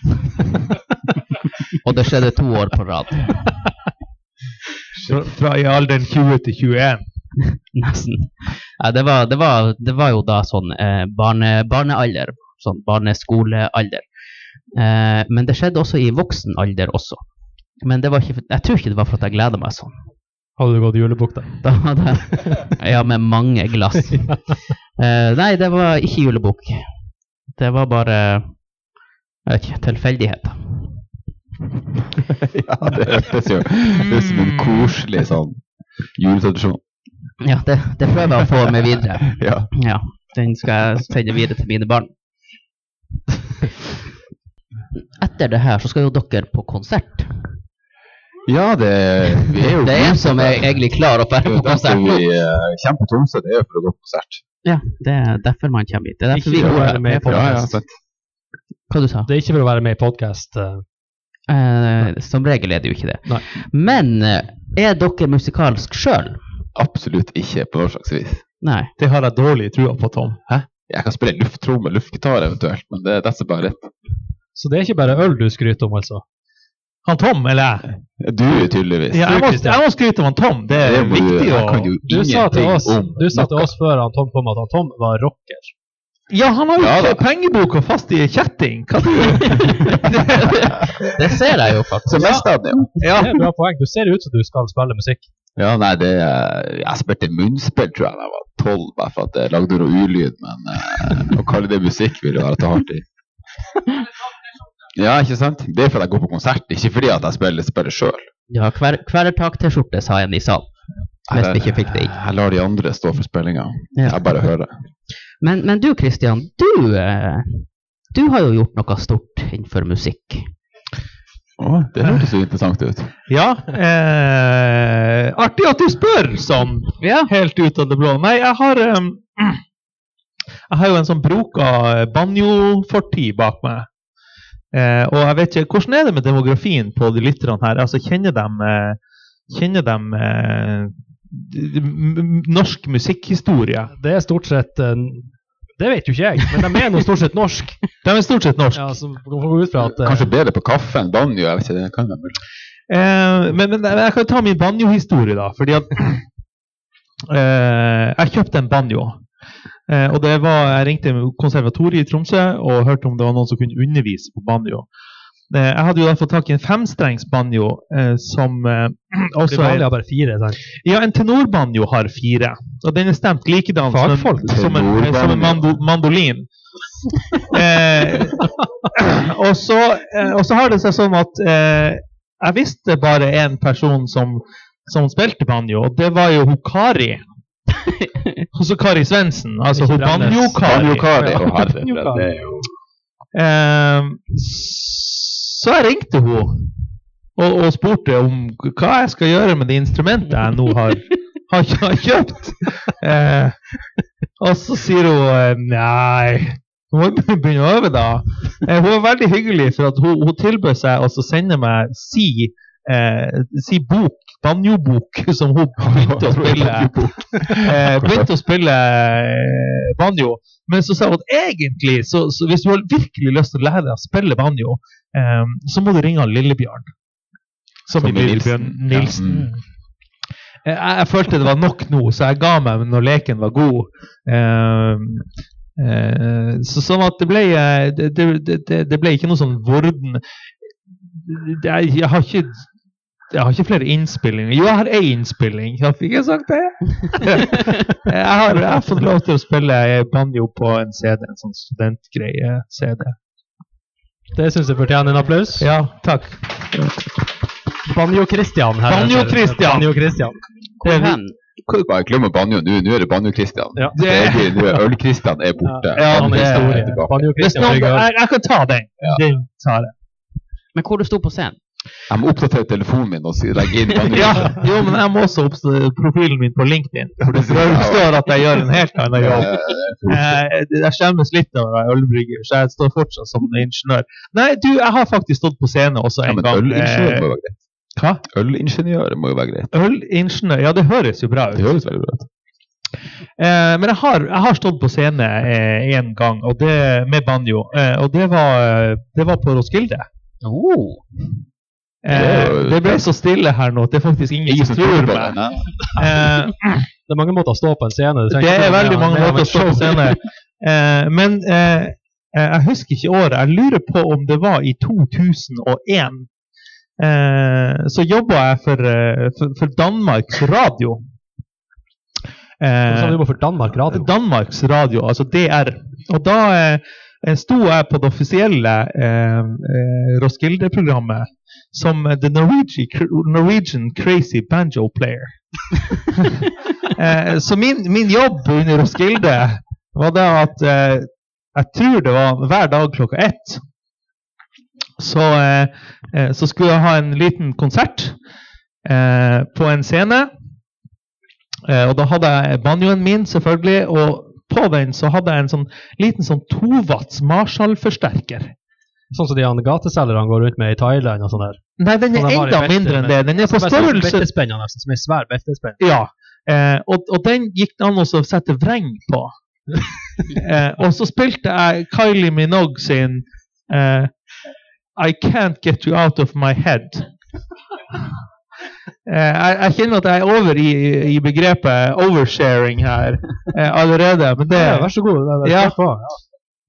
A: Og det skjedde to år på rad.
D: fra, fra i alderen 20 til 21.
A: Nesten. Ja, det, var, det, var, det var jo da sånn eh, barne, barnealder. Sånn barneskolealder. Eh, men det skjedde også i voksen alder også. Men det var ikke, jeg tror ikke det var for at jeg gleda meg sånn.
B: Hadde du gått i
C: [laughs]
B: julebukta?
A: Da hadde jeg Ja, med mange glass. Eh, nei, det var ikke julebukk. Det var bare jeg vet ikke, tilfeldigheter.
C: Ja, det hørtes jo ut som
A: Mm.
C: en koselig sånn juletradisjon.
A: Ja, det, det prøver jeg å få med videre.
C: Ja.
A: Ja, Den skal jeg sende videre til mine barn. Etter det her så skal jo dere på konsert.
C: ja, det Eh, vi er jo
A: Det er en som er egentlig klar å
C: Det er
A: dra
C: jo
A: på konsert
C: derfor
A: nå.
C: vi eh, kommer på Tromsø, det er jo for å gå på konsert.
A: Ja, det er derfor man kommer hit. Det er derfor
B: Ikke
A: vi går
B: være
A: her.
B: med i
C: Ja, altså. ja,
B: podcast.
C: sant.
A: Hva du sa
B: Det er ikke for å være med i podkast. Jeg
A: Eh, som regel er det jo ikke det.
B: Nei.
A: Men eh, er dere musikalsk sjøl?
C: Absolutt ikke på noe slags vis.
A: Nei.
D: Det har jeg dårlig trua på, Tom.
C: Jeg kan spille lufttromme, luftgitar eventuelt, men det, that's about it.
B: Så det er ikke bare øl du skryter om, altså?
D: Han Tom, eller jeg?
C: Du, tydeligvis.
D: Ja, jeg, må, jeg må skryte om han Tom. Det er
C: Det må du-
D: viktig
C: jeg
D: å
C: kan jo
B: Du sa til
C: ingenting
B: oss,
C: om
B: du sa til
C: noe.
B: oss før han Tom kom at han Tom var rocker.
D: Ja, han har jo
C: Ja,
D: ikke
C: da.
D: pengebok og fast i kjetting. Hva tror du?
A: Det ser jeg jo faktisk.
C: [laughs] Så mest av det, jo.
D: Ja.
B: Det er et bra poeng. Du ser ut som du skal spille musikk.
C: Ja, nei, det eh, Jeg spilte munnspill, tror jeg, da jeg var tolv, bare for at jeg lagde noe ulyd, men eh, å kalle det musikk vil jo være å ta hardt i. Ja, ikke sant? Det er fordi jeg går på konsert, ikke fordi at jeg spiller spiller sjøl.
A: Ja, hver, Kvelertak-T-skjorte, sa en i salen. Hvis vi ikke fikk det inn.
C: Jeg lar de andre stå for spillinga.
A: Ja.
C: Jeg bare hører.
A: Men, men du, Kristian, du, eh, du har jo gjort noe stort innenfor musikk.
C: Å, det hørtes jo interessant ut.
D: ja eh, artig at du spør sånn.
A: Ja.
D: Helt ut av det blå. Nei, jeg har um, Jeg har jo en sånn broka banjofortid bak meg. Eh, og jeg vet ikke, Hvordan er det med demografien på de lytterne her? Altså, Kjenner de, eh, kjenner de eh, d- d- m- m- norsk musikkhistorie?
B: Det er stort sett eh, Det vet jo ikke jeg, men de er nå stort sett norsk.
D: De er stort sett norsk.
B: [laughs] Ja, så man får gå ut fra at eh,
C: Kanskje bedre på kaffe enn banjo. Jeg vet ikke, det kan være mulig.
D: Eh, men, men jeg kan ta min banjohistorie, da. Fordi at eh, Jeg kjøpte en banjo. Eh, og det var, Jeg ringte konservatoriet i Tromsø og hørte om det var noen som kunne undervise på banjo. Eh, jeg hadde jo da fått tak i en femstrengs banjo eh, som eh,
B: de
D: også
B: vanlige
D: er,
B: har bare fire. Sant?
D: Ja, en tenorbanjo har fire. Og den er stemt likedan som en,
B: Fagfolk.
D: som en, eh, som en mando,
B: [laughs]
D: mandolin. Eh, og, så, eh, og så har det seg sånn at eh, jeg visste bare én person som, som spilte banjo, og det var jo hun
B: [laughs]
D: Kari. Også Kari Svendsen. Altså
B: Ikke
D: hun
B: Brandes.
D: banjo-Kari.
C: Banjo-Kari. Å, herre,
B: Banjo-Kari.
C: det er jo
D: Eh, så jeg ringte hun og, og spurte om hva jeg skal gjøre med det instrumentet jeg nå har, har, kjø- har kjøpt. Eh, og så sier hun eh, nei, du må jo begynne å øve, da. Eh, hun var veldig hyggelig, for at hun, hun tilbød seg å så sende meg si, eh, si bok, banjobok, som hun begynte å spille. Eh, begynte å spille eh, banjo. Men så sa hun at egentlig, så, så hvis du har virkelig lyst til å lære deg å spille banjo, eh, så må du ringe han Lillebjørn. Som,
C: Som
D: i
C: i
D: Lillebjørn Nilsen.
C: Nilsen.
D: Jeg, jeg følte det var nok nå, så jeg ga meg når leken var god. Eh, eh, så, sånn at det ble eh, det, det, det, det ble ikke noe sånn vorden det, er- jeg, har ikke, jeg har ikke flere innspillinger. Jo, jeg har én innspilling. Ja, Fikk jeg sagt det? jeg, har, jeg har fått lov til å spille banjo på en CD, en sånn studentgreie-CD.
B: Det syns jeg fortjener en applaus.
D: Ja, takk.
B: Banjo-Christian. her.
D: Banjo-Christian.
B: Banjo-Christian.
A: Hvor hen?
C: Bare glem banjo nå. Nå er det banjo-Kristian.
B: Ja.
C: Det er ikke- nå er Øl-Kristian er borte.
D: Ja,
B: Han er
D: det-
B: stor.
C: er tilbake.
D: Hvis
B: Banjo-Christian
D: noen,
B: brygger øl.
D: jeg, jeg kan ta den.
C: Ja.
D: Den tar jeg.
A: Men hvor du sto på scenen?
C: Jeg må oppdatere telefonen min og si- legge inn banjo.
D: Ja, jo, men jeg må også oppstå profilen min på LinkedIn.
C: For det
D: For
C: sier
D: jeg
C: jeg også.
D: forstår at jeg gjør en helt annen jobb.
C: Eh,
D: Jeg, jeg skjemmes litt over å være ølbrygger, så jeg står fortsatt som en ingeniør. Nei, du, jeg har faktisk stått på scene også
C: Ja,
D: en
C: men
D: gang.
C: ølingeniør må
D: Eh,
C: jo være greit.
D: Hva?
C: Ølingeniør må jo være greit.
D: Eh, Ølingeniør? Ja, det høres jo bra ut.
C: Det høres veldig bra ut.
D: Eh, men jeg har, jeg har stått på scene én gang, og det, med banjo. Eh, og det var, det var på Roskilde.
A: Oh.
D: Eh, det ble så stille her nå at det er faktisk ingen som tror
C: på
D: meg.
C: det.
D: Eh,
B: Det er mange måter å stå på en scene.
D: Det er veldig mange måter å stå på scene. [laughs] Eh, men eh, eh, jeg husker ikke året. Jeg lurer på om det var i 2001. Eh, så jobba jeg for, eh, for, for Danmarks Radio.
B: Så
D: Eh,
B: vi må for Danmark Radio.
D: Danmarks Radio, altså DR. Og da eh, sto jeg på det offisielle eh, eh, Roskilde-programmet som The Norwegian, Norwegian Crazy Banjo Player. [laughs] eh, så min, min jobb under Roskilde var det at eh, jeg tror det var hver dag klokka ett. Så, eh, eh, så skulle jeg ha en liten konsert eh, på en scene. Eh, og da hadde jeg banjoen min, selvfølgelig. Og på den så hadde jeg en sånn liten sånn 2 watts Marshall-forsterker.
B: Sånn som de han gateselgerne går rundt med i Thailand og sånn der.
D: Nei, den er
B: Og den har
D: enda
B: en belte
D: mindre enn det.
B: med-
D: Den er på
B: Som er sånn
D: størrelse
B: beltespenn, han er, som er svær beltespenn.
D: Ja. Eh, og, og den gikk det an også å sette vreng på.
B: [laughs]
D: eh, og så spilte jeg Kylie Minogue sin eh, I Can't Get You Out of My Head. Eh, jeg, jeg kjenner at jeg er over i, i begrepet oversharing her eh, allerede. Men, det,
B: Ja, vær så god. det er-
D: Ja.
B: kjør på. Ja.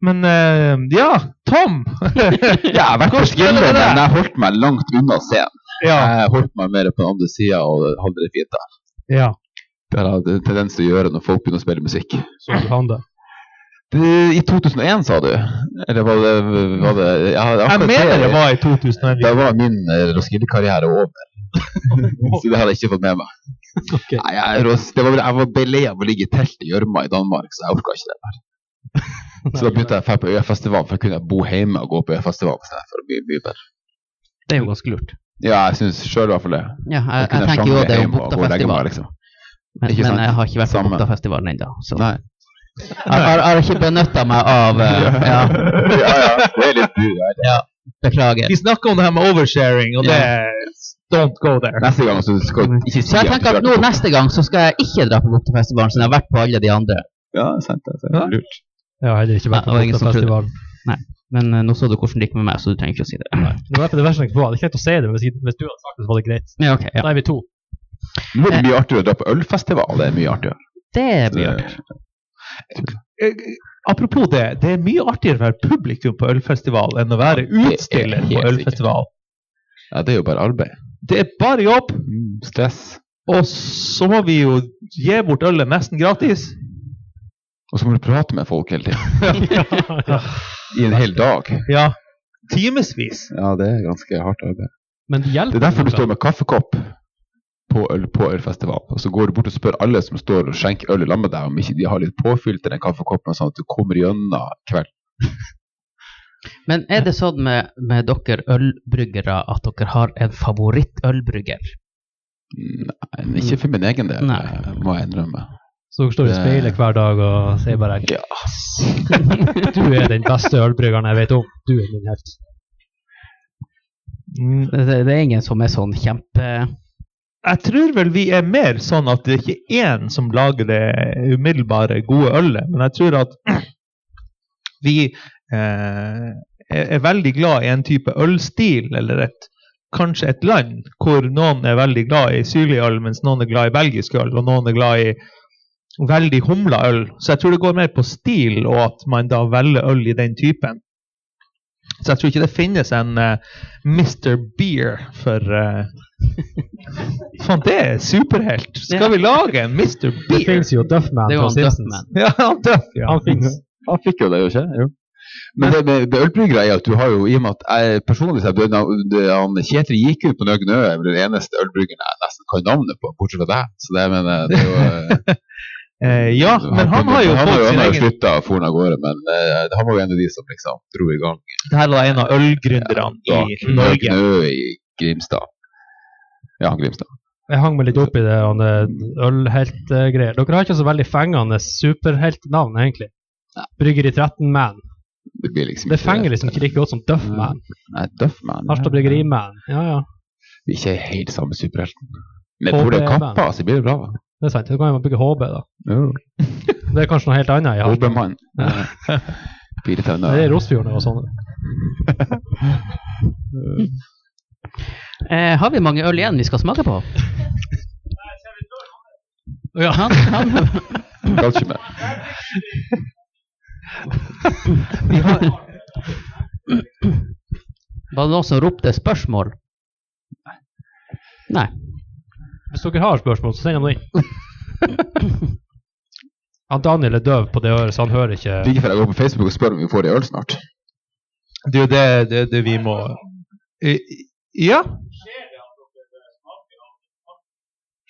D: men eh, ja, Tom! [laughs]
C: Ja, jeg har vært
D: spiller
C: på Roskilde,
D: dere?
C: men jeg holdt meg langt unna scenen.
D: ja,
C: Jeg holdt meg mer på den andre sida og hadde det fint. da.
D: ja.
C: Det har jeg en tendens til å gjøre når folk begynner å spille musikk.
B: Så du han det.
C: Det, I 2001, sa du? Eller var det, var det ja,
D: Jeg
C: akkurat
D: mener det var i 2001.
C: Da var min eh, Roskilde-karriere over. [laughs] Så det hadde jeg ikke fått med meg.
B: Ok.
C: Nei, jeg, Ros- det var, vel- jeg var lei av å ligge i telt i gjørma i Danmark, så jeg orka ikke det
D: [laughs]
C: der. Så da begynte jeg å dra på Øyafestivalen, for da kunne jeg bo hjemme og gå på Øyafestivalen. så det var mye, mye bedre.
A: Det er jo ganske lurt.
C: Ja, jeg syns sjøl i hvert fall det.
A: Ja, jeg,
C: Jeg
A: jeg
C: kunne
A: tenker jo
C: sjangle
A: det er jo
C: hjemme og gå og legge meg,
A: Buktafestivalen,
C: liksom.
A: men,
C: Ikke
A: men
C: sant?
A: jeg har ikke vært på
C: Samme.
A: Buktafestivalen ennå. Så
C: Nei.
A: jeg har, jeg har ikke benytta meg av eh,
C: [laughs]
A: ja,
C: [laughs] ja, ja. Det er litt dyrt. ja.
A: Beklager.
D: Vi snakka om det her med oversharing, og det Don't go there.
C: Neste gang så skal du ikke si
A: Så jeg tenker at nå neste gang så skal jeg ikke dra på Buktafestivalen, siden jeg har vært på alle de andre.
C: [laughs] Ja, sant det. sant det.
D: Ja.
C: Lurt.
B: Jeg har heller ikke vært
A: Nei,
B: på
A: det var ingen som trodde det.
B: Fotofestivalen.
A: Men eh, nå så du hvordan det gikk med meg, så du trenger ikke å si det.
B: Det var derfor det verste jeg kom på. Det er ikke greit å si det, men hvis, hvis du hadde sagt det, så var det greit.
A: Ja, ok. Ja.
B: Da er vi to.
C: Nå er det mye artigere å dra på ølfestival. Det er mye artigere.
A: Eh. Det blir
C: Det-
A: gjort.
D: Eh, Apropos det, det er mye artigere å være publikum på ølfestival enn å være utstiller på
C: helt
D: ølfestival.
C: Ja, det er jo bare arbeid.
D: Det er bare jobb,
C: Mm, stress.
D: og så må vi jo gi bort ølet nesten gratis.
C: Og så må du prate med folk hele tiden.
A: [laughs]
B: Ja.
C: I en hel dag.
D: Ja, timevis.
C: Ja, det er ganske hardt arbeid.
B: Men det hjelper.
C: Det er derfor du står med kaffekopp på, øl, på ølfestival. Og så går du bort og spør alle som står og skjenker øl i lag med deg, om ikke de har litt påfylt til den kaffekoppen, sånn at du kommer gjennom kvelden.
A: Men er det sånn med, med dere ølbryggere at dere har en favorittølbrygger?
C: Nei, men ikke for min egen del,
A: Nei.
C: må jeg innrømme.
B: Så dere står i
C: Det-
B: speilet hver dag og sier bare
C: Ja.
B: [laughs] Du er den beste ølbryggeren jeg vet om. Du er min helt.
D: Mm,
A: Det, det det er ingen som er sånn kjempe...
D: Jeg tror vel vi er mer sånn at det er ikke én som lager det umiddelbare gode ølet, men jeg tror at vi eh, er er veldig glad i en type ølstil eller et kanskje et land hvor noen er veldig glad i syrlig øl, mens noen er glad i belgisk øl, og noen er glad i veldig humla øl. Så jeg tror det går mer på stil, og at man da velger øl i den typen. Så jeg tror ikke det finnes en eh, Mr. Beer for eh, Faen, det er superhelt! Skal vi lage en Mr.
B: Det
D: Beer?
B: fins jo Duffman
A: Det er jo
B: fra
A: han
B: Simpsons.
A: Duffman.
D: [laughs] Ja, han døff, ja.
B: Han finnes.
C: Han fikk jo det, jo ikke? Jo. Men det med, med ølbryggere er at du har jo, i og med at jeg personlig så er jeg død- det- han Kjetil gikk ut på Nøggen Ø, er vel den eneste ølbryggeren jeg nesten kan navnet på, bortsett fra deg. Så det, men, eh, det er jo, eh,
D: Eh, ja, men han har jo
C: han
D: fått sin egen
C: slutta og for av gårde, men eh, han var jo en av de som liksom dro i gang
D: Det her var en av ølgründerne
C: da,
D: i Norge.
C: Nøggen Ø i Grimstad. Ja, Grimstad.
B: Jeg hang meg litt opp i det han, eh, ølheltgreier. Dere har ikke så veldig fengende superheltnavn, egentlig. Bryggeri 13-man.
C: Det blir liksom
B: Det fenger liksom ikke like godt som Duffman.
C: Nei, Duffman.
B: Harstad Bryggeriman. Ja, ja.
C: Vi er Ikke helt samme superhelten. Men hvor det er
B: HB-band.
C: kappa, så blir det bra. da.
B: Det er sant. Da kan man bruke HB, da.
C: Jo,
B: Det er kanskje noe helt annet. i Harstad.
C: HB-mann. Ja. Fire
B: [laughs]
C: tønner.
B: Det er Rosfjorden og sånn.
A: Eh, har vi mange øl igjen vi skal smake på?
D: Ja.
A: Han, han,
C: Galt ikke mer.
A: var det noen som ropte spørsmål? Nei.
B: Hvis dere har spørsmål, så send dem inn.
D: [laughs]
B: Han Daniel er døv på det øret, så han hører ikke
C: Like før jeg går på Facebook og spør om vi får en øl snart.
D: Det er jo det, det, er det vi må I- i- Ja.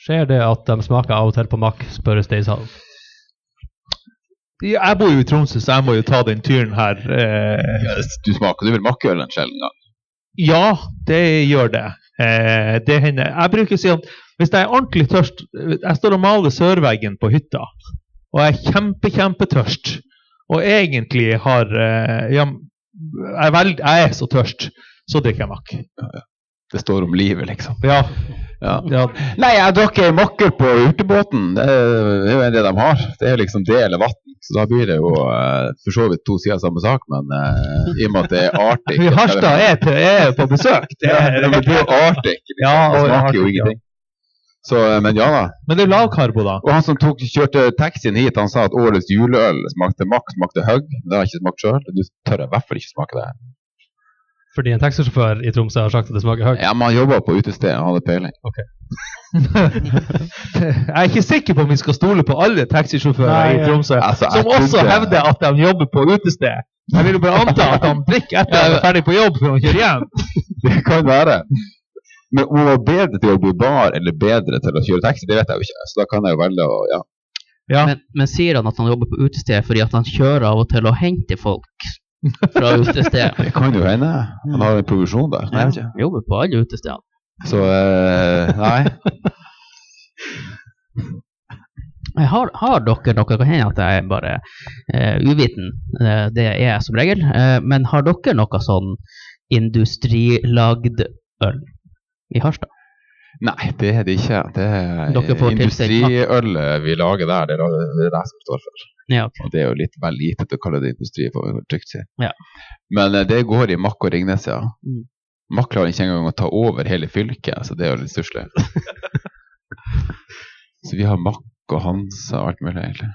B: Skjer det at de smaker av og til på makk, spør Steinshallen.
D: Ja, Jeg bor jo i Tromsø, så jeg må jo ta den turen her. eh.
C: Du smaker du vil makkøl en sjelden gang.
D: Ja, det gjør det. Eh, Det hender. Jeg bruker å si at hvis jeg er ordentlig tørst Jeg står og maler sørveggen på hytta, og jeg er kjempe, kjempetørst, og egentlig har eh, ja, jeg, er veld, jeg er så tørst, så drikker jeg makk.
C: Det står om livet, liksom.
D: Ja,
C: Ja.
D: ja,
C: Nei, jeg drakk en makkøl på hurtigbåten. Det er jo en det de har. Det er liksom det eller vann. Så da blir det jo eh, for så vidt to sider av samme sak, men eh, i og med at det er [laughs] Arctic
D: Vi Harstad er, til- er på besøk. Det
C: [laughs] Ja,
D: er,
C: men det er jo Arctic. Liksom.
D: Ja,
C: det
D: og
C: smaker jo
D: Arctic,
C: ingenting. Så, eh, men ja da.
D: men det er lavkarbo, da.
C: Og han som tok, kjørte taxien hit, han sa at årets juleøl smakte makk, smakte hugg. Det har jeg ikke smakt sjøl. Du tør i hvert fall ikke smake det.
B: Fordi en taxisjåfør i Tromsø har sagt at det smaker høyt.
C: Ja, men han jobba på utestedet, han hadde peiling.
D: [laughs] Jeg er ikke sikker på om vi skal stole på alle taxisjåfører
B: Nei,
D: i Tromsø
C: altså, jeg
D: som også
C: trodde-
D: hevder at de jobber på utested. Jeg vil jo bare anta at han drikker etter at han er ferdig på jobb før han kjører hjem.
C: [laughs] Det kan være. Men om hun var bedre til å jobbe i bar eller bedre til å kjøre taxi, det vet jeg jo ikke. Så da kan jeg jo velge å ja.
D: Ja.
A: Men, men sier han at han jobber på utested fordi at han kjører av og til og henter folk fra utestedet? [laughs]
C: Det kan jo hende. Han har en provisjon der. Nei, jeg vet ikke.
A: Han jobber på alle utestedene.
C: Så eh, nei.
A: Jeg Har, har dere noe kan hende at jeg er bare eh, uviten, eh, det er jeg som regel, eh, men har dere noe sånn industrilagd øl i Harstad?
C: [laughs] Nei, det er det ikke. Det er
A: Dere får tilsendt
C: industriølet vi lager der, det er det det er jeg som står for.
A: Ja, ok.
C: Og det er jo litt vel lite til å kalle det industri, får vi trygt si.
A: Ja.
C: Men eh, det går i Makk og Ringnes, ja.
A: Mm.
C: Makk klarer ikke engang å ta over hele fylket, så det er jo
B: [laughs]
C: litt stusslig. så vi har Makk og Hansa og alt mulig, egentlig.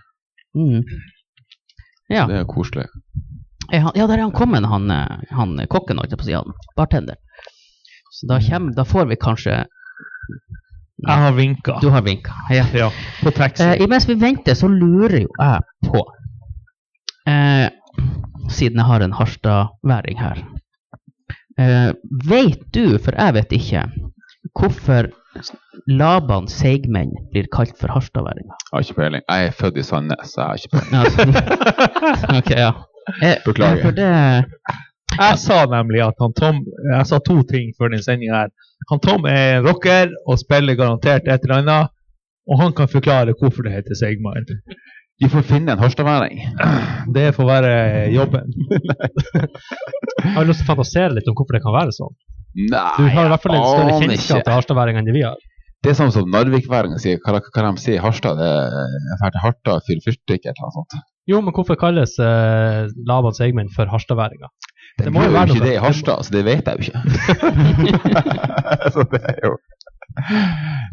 A: Mm. Ja.
C: Det er jo koselig.
A: Er han, ja, der er han kommet, han, eh, han kokken, holdt jeg på å si, han bartenderen. Så da, kjem, da får vi kanskje
D: Jeg har vinka.
A: Du har vinka. Ja.
D: Ja, på taxi.
A: Eh, imens vi venter, så lurer jo jeg på eh, Siden jeg har en Harstad-væring her. Eh, vet du, for jeg vet ikke, hvorfor Laban Seigmenn blir kalt for Harstadværinger?
C: Jeg har ikke peiling. Jeg er født i Sandnes, så jeg har ikke peiling. [laughs]
A: Altså, ok, ja. Eh,
C: Beklager.
A: eh, For det,
D: Jeg sa nemlig at han Tom Jeg sa to ting før den sendinga her. Han Tom er en rocker og spiller garantert et eller annet. Og han kan forklare hvorfor det heter Segman.
C: Du får finne en harstadværing.
D: Det får være jobben.
B: Jeg har lyst til å fantasere litt om hvorfor det kan være sånn.
C: Nei,
B: Du har i hvert fall en større
C: aner
B: kjennskap til harstadværingene enn det vi har.
C: Det er sånn som narvikværingene sier. Hva, hva de sier i Harstad? Det er jeg drar til Harstad og fyller fyrstikk eller noe sånt.
B: Jo, men hvorfor kalles eh, Laban Seigmenn for harstadværinger?
C: Den
B: Det må jo
C: gjør
B: være noe
C: jo ikke det i
B: sånt.
C: Harstad, så det vet jeg jo
B: [laughs]
C: ikke. så det er jo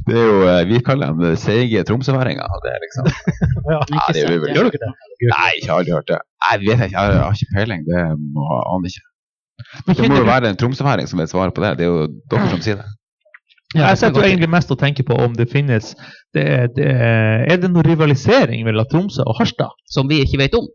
C: Det er jo eh, Vi kaller dem eh, seige tromsøværinger. og Det er
B: [laughs]
C: liksom
A: Ikke
C: Ja, det
A: sant,
C: gjør vi vel.
B: Gjør dere det?
C: Nei, jeg har aldri hørt det. Nei, Jeg vet ikke, jeg har ikke peiling. Det må jeg aner ikke.
A: Men
C: Det må
A: kjenner
C: jo
A: du-
C: være en tromsøværing som vet svaret på det. Det er jo dere som sier det.
A: Ja,
D: jeg
A: det kan
D: setter
A: godt
D: jo egentlig mest og tenker på om det finnes det, er- det, er- Er det noe rivalisering mellom Tromsø og Harstad?
A: Som vi ikke vet om.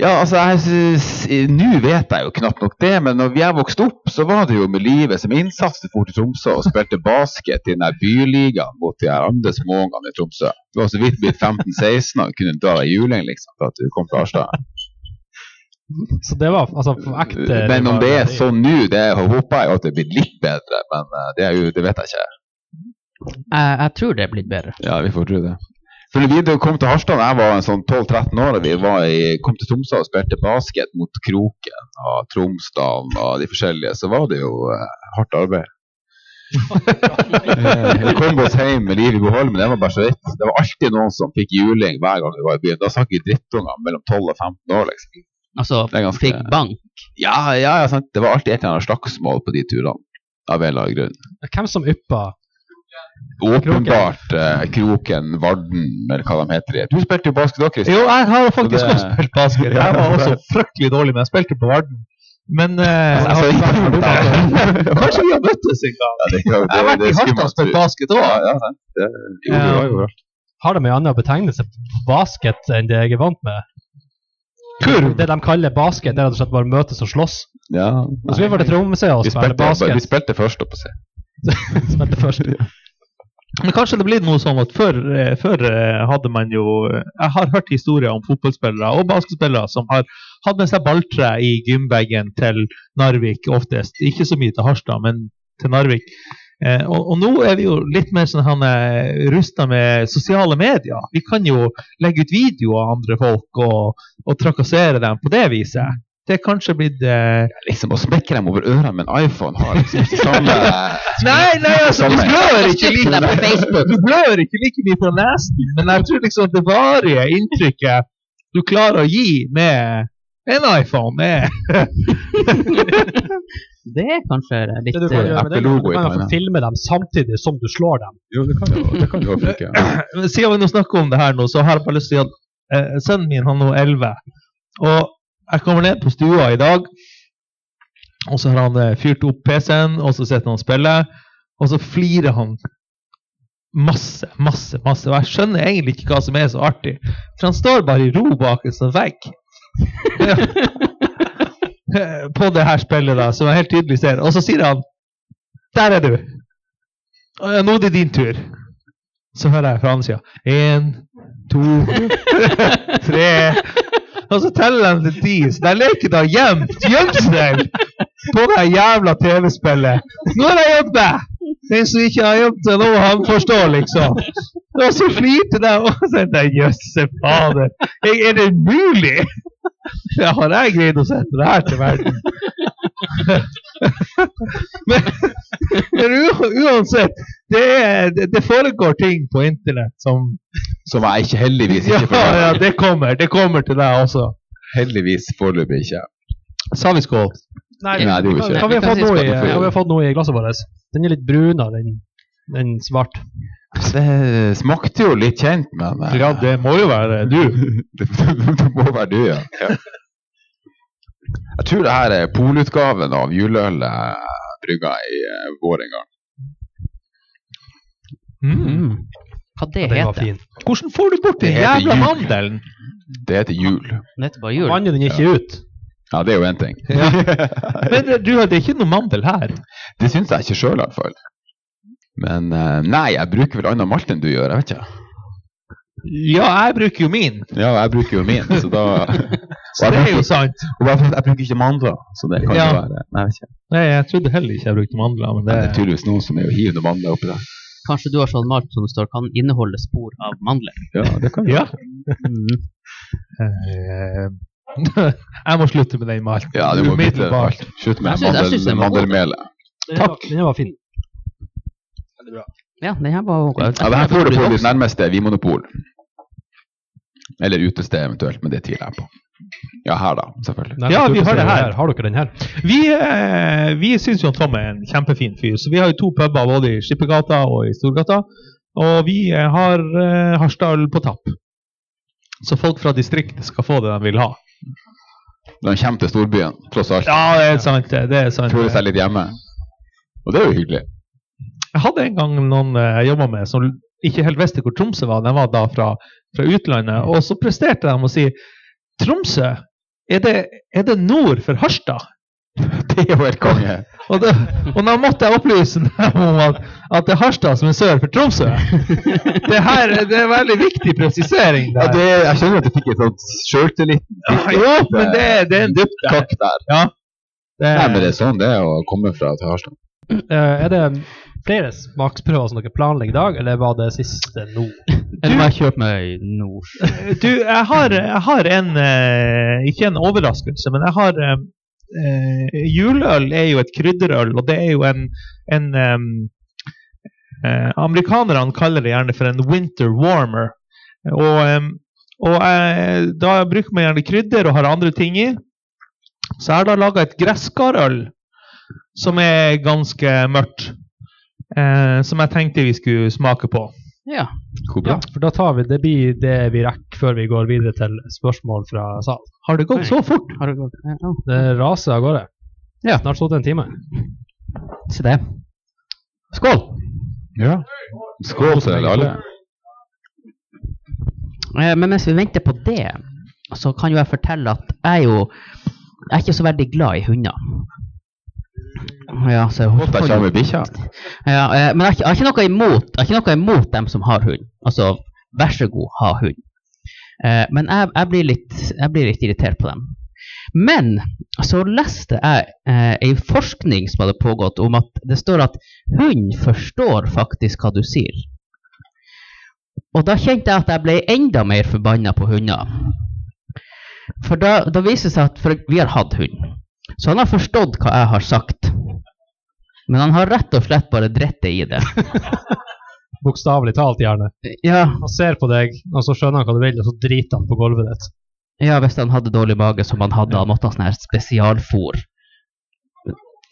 C: Ja, altså, jeg synes- Nå vet jeg jo knapt nok det, men når jeg vokste opp, så var det jo med livet som innsats du for til Tromsø og spilte basket i den der byligaen mot de her andre småungene i Tromsø. Du var så vidt blitt 15-16 og kunne dra i juling liksom, for at du kom fra Harstad.
B: Så det var altså for ekte
C: Men om det er
B: rivaleri.
C: sånn nå, det håper jeg jo at det blir litt bedre, men eh, det, er jo, det vet jeg ikke.
A: Jeg, jeg tror det er blitt bedre.
C: Ja, vi får tro det. For når vi kom til Harstad da jeg var en sånn 12-13 år, og vi var i, kom til Tromsø og spilte basket mot Kroken og Tromsdalen og de forskjellige, så var det jo eh, hardt arbeid. Eh, Vi kom oss hjem med liv i behold, men det var bare så vidt. Det var alltid noen som fikk juling hver gang vi var i byen. Da snakker vi drittunger mellom 12 og 15 år, liksom.
A: Altså,
C: Det er ganske-
A: fikk bang.
C: Ja, ja, ja, sant. Det var alltid et eller annet slagsmål på de turene, av en eller annen grunn.
B: Hvem som yppa?
C: Åpenbart eh, Kroken, Varden, eller hva de heter. Du spilte jo basket òg, Christian.
D: Jo, jeg har faktisk
C: Det-
D: også spilt basket. Jeg var også fryktelig dårlig, men jeg spilte på Varden. Men eh, jeg har ikke vært på Harstad. [laughs] Kanskje vi har møttes en gang? Jeg har vært i Harstad og spilt basket òg.
B: Har de en annen betegnelse på basket enn det jeg er vant med?
D: Kurv.
B: Det de kaller basket, er rett og slett bare møtes og slåss. Og så vi var til Tromsø og
C: Vi
B: spilte
C: spilte, vi
B: basket.
C: spilte først, opp å si.
B: [laughs] Spilte først.
D: Men kanskje det blir noe sånn at før, eh, før eh, hadde man jo Jeg har hørt historier om fotballspillere og basketspillere som har hatt med seg balltre i gymbagen til Narvik oftest. Ikke så mye til Harstad, men til Narvik. Eh, og, og nå er vi jo litt mer sånn han rusta med sosiale medier. Vi kan jo legge ut videoer av andre folk og, og trakassere dem på det viset. Det er kanskje blitt eh,
C: Liksom å smekke dem over ørene med en iPhone har liksom ikke [laughs] samme
D: Nei, nei, altså, du
C: Samme.
D: blør ikke
A: Stikk
D: like
A: deg på Facebook.
D: Du blør ikke like mye fra nesen, men jeg tror liksom at det varige inntrykket du klarer å gi med en iPhone er
A: Det er kanskje litt
B: Det du kan
A: eh,
B: gjøre med det, du kan i
C: Apple-logo i
B: hvert fall
C: panna.
B: filme dem samtidig som du slår dem.
C: Jo, det kan jo- det kan jo funke.
D: Men Siden vi nå snakker om det her nå, så har jeg bare lyst til å si at eh, sønnen min han er nå 11. Og jeg kommer ned på stua i dag, og så har han eh, fyrt opp PC-en, og så sitter han og spiller, og så flirer han masse, masse, masse. Og jeg skjønner egentlig ikke hva som er så artig, for han står bare i ro bak en sånn vegg. [laughs] Eh, på det her spillet, da, som jeg helt tydelig ser. Og så sier han Der er du! «Å ja, Nå er det din tur. Så hører jeg fra andre sida Én, to, [laughs] tre Og så teller de til ti. Så de leker da gjemt gjemsel på det her jævla TV-spillet. Nå har jeg gjemt meg! Den som ikke har gjemt seg nå, han forstår, liksom. Og så flirte de, og så tenkte jeg jøsse fader, er er det mulig? Ja, har jeg greid å sette det her til verden? [laughs] Men, men u- uansett, det, er, det, det foregår ting på internett som
C: Som jeg ikke heldigvis
D: Ja,
C: ikke får
D: ja det kommer. Det kommer til deg også.
C: Heldigvis foreløpig ikke.
D: Sa vi skål?
B: Nei,
C: Nei, det gjorde vi
B: hva
C: ikke.
B: vi har
A: Vi kan
B: fått
A: si
B: nå i,
C: skapet for-
B: hva vi har fått nå i glasset vårt? Den er litt brunere enn enn svart.
C: Så Det smakte jo litt kjent, men eh,
D: Ja, det må jo være du.
C: [laughs] det, det må være du, ja. ja. Jeg tror det her er polutgaven av juleølet jeg brygga i eh, vår en gang.
D: Mm.
A: mm. Hva det
B: Den var
A: heter det?
B: fin.
D: Hvordan får du bort den
C: Det heter
D: jævla
C: jul.
D: mandelen?
C: Det heter jul.
A: Nettopp var jul.
B: Vannet den ikke ut.
C: Ja, det er jo én ting.
D: [laughs] Men eh, du, det er ikke noe mandel her.
C: Det syns jeg ikke sjøl, i hvert fall. Men eh, nei, jeg bruker vel annen malt enn du gjør, jeg vet ikke.
D: Ja, jeg bruker jo min,
C: Ja, jeg bruker jo min, så da Og
D: så
C: jeg
D: det er
C: bruker,
D: jo sant.
C: [laughs] og jeg bruker- jeg bruker ikke mandler, så det kan jo
D: Ja.
C: være Nei, jeg vet ikke.
D: Nei, jeg trodde heller ikke jeg brukte mandler, men
C: Det er
D: det
C: tydeligvis noen som er å hive noen mandler oppi der.
A: Kanskje du har sånn malt som det står kan inneholde spor av mandler.
C: Ja, det kan
D: Ja.
A: Mm.
D: [laughs] Eh, Jeg må slutte med den malten.
C: Ja, du må bytte
D: Umiddelbart.
C: alt. Slutt med
A: Jeg synes- jeg synes den
C: mandel,
A: var god.
C: mandelmelet.
B: Den var, den var fin.
A: Ja, den her var
C: Ja, det her får du på ditt nærmeste vinmonopol. Eller utested eventuelt, men det tviler jeg på. Ja, her, da. Selvfølgelig.
B: Nei,
D: Ja,
B: jeg tror
D: vi
B: ikke
D: har det
B: jeg
D: her.
B: Har dere den her?
D: Vi, eh, vi syns jo Tom er en kjempefin fyr, så vi har jo to puber både i Skippergata og i Storgata. Og vi eh, har eh, Harstad på tapp. Så folk fra distriktet skal få det de vil ha.
C: De kommer til storbyen, tross alt.
D: Ja, det er sant. det, det er sant.
C: Føler seg litt hjemme. Og det er jo hyggelig.
D: Jeg hadde en gang noen eh, jeg jobba med som ikke helt visste hvor Tromsø var. De var da fra, fra utlandet. Og så presterte de å si Tromsø, er det, er det nord for Harstad?
C: [laughs] Det er jo helt konge.
D: Og, det, og da måtte jeg opplyse dem om at, at det er Harstad som er sør for Tromsø. Det her det er en veldig viktig presisering.
C: Ja,
D: Der.
C: det, jeg skjønner at du fikk et sånt sjøltillit
D: jo, men det, er- det er en dypt der.
C: kakk der.
D: Det,
C: Nei, men det er sånn det er å komme fra til Harstad.
B: Eh, er det flere smaksprøver som dere planlegger i dag, eller var det siste nå?
A: Eller må jeg kjøpe meg nå?
D: du, jeg har, jeg har en eh, Ikke en overraskelse, men jeg har eh, eh, Juleøl er jo et krydderøl, og det er jo en, en eh, eh, Amerikanerne kaller det gjerne for en winter warmer. Og, eh, og jeg- da bruker man gjerne krydder og har andre ting i. Så jeg har da laga et gresskarøl som er ganske mørkt. eh, som jeg tenkte vi skulle smake på.
A: Ja.
C: Hvor
B: Ja,
C: bra.
B: for da tar vi det blir det vi rekker før vi går videre til spørsmål fra salen.
D: Har det gått så fort?
A: Har du gått? Ja, ja.
B: Det raser av gårde.
A: Ja.
B: Snart stått en time.
A: Se det.
B: Skål!
C: Ja. Skål til alle.
A: Eh, Men mens vi venter på det, så kan jo jeg fortelle at jeg er jo Jeg er ikke så veldig glad i hunder. Ja, så
C: Godt jeg kommer med bikkja.
A: ja, eh, men jeg, har ikke- jeg, har ikke noe imot, jeg har ikke noe imot dem som har hund. Altså, vær så god, ha hund. Eh, men jeg, jeg, blir litt, jeg blir litt irritert på dem. Men så leste jeg eh, ei forskning som hadde pågått, om at det står at hund forstår faktisk hva du sier. Og da kjente jeg at jeg ble enda mer forbanna på hunder. For da, da viser det seg at for vi har hatt hund. Så han har forstått hva jeg har sagt. Men han har rett og slett bare dritt i det.
B: Bokstavelig talt, gjerne.
A: Ja,
B: Han ser på deg, og så skjønner han hva du vil, og så driter han på gulvet ditt.
A: ja hvis han hadde dårlig mage, som han hadde, han måtte ha sånn her spesialfôr.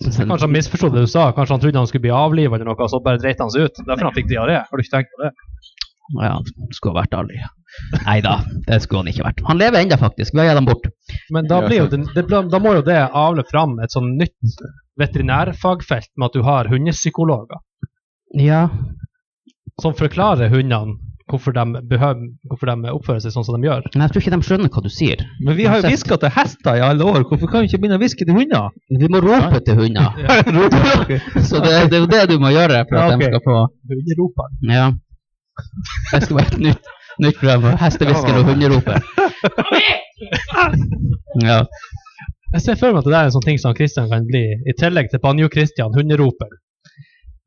B: Kanskje han misforsto det du sa, kanskje han trodde han skulle bli avlivet eller noe, og så bare dreit han seg ut. Derfor han fikk diaré. Har du ikke tenkt på det?
A: Ja, han skulle ha vært artig. Nei da, det skulle han ikke vært. Han lever ennå, faktisk. Vi har gitt ham bort.
B: Men da,
C: Ja,
B: blir jo
C: sant.
B: det, det, da må jo det avle fram et sånn nytt veterinærfagfelt med at du har hundepsykologer.
A: Ja,
B: som forklarer hundene hvorfor de, behøver, hvorfor de oppfører seg sånn som de gjør.
A: men jeg tror ikke de skjønner hva du sier.
D: Men vi har jo
A: Uansett.
D: hviska til hester i alle år, hvorfor kan vi ikke begynne å hviske til hunder? [laughs]
A: Vi må rope til hunder. Så det, det er jo det du må gjøre for at
D: Ja, ok.
A: de skal få
D: Hunderoper.
A: Ja. Det skal være et nytt, nytt program. Hestehvisker og hunderoper. Ja.
B: Jeg ser for meg at det er en sånn ting som Christian kan bli, i tillegg til Banjo Christian, hunderoper.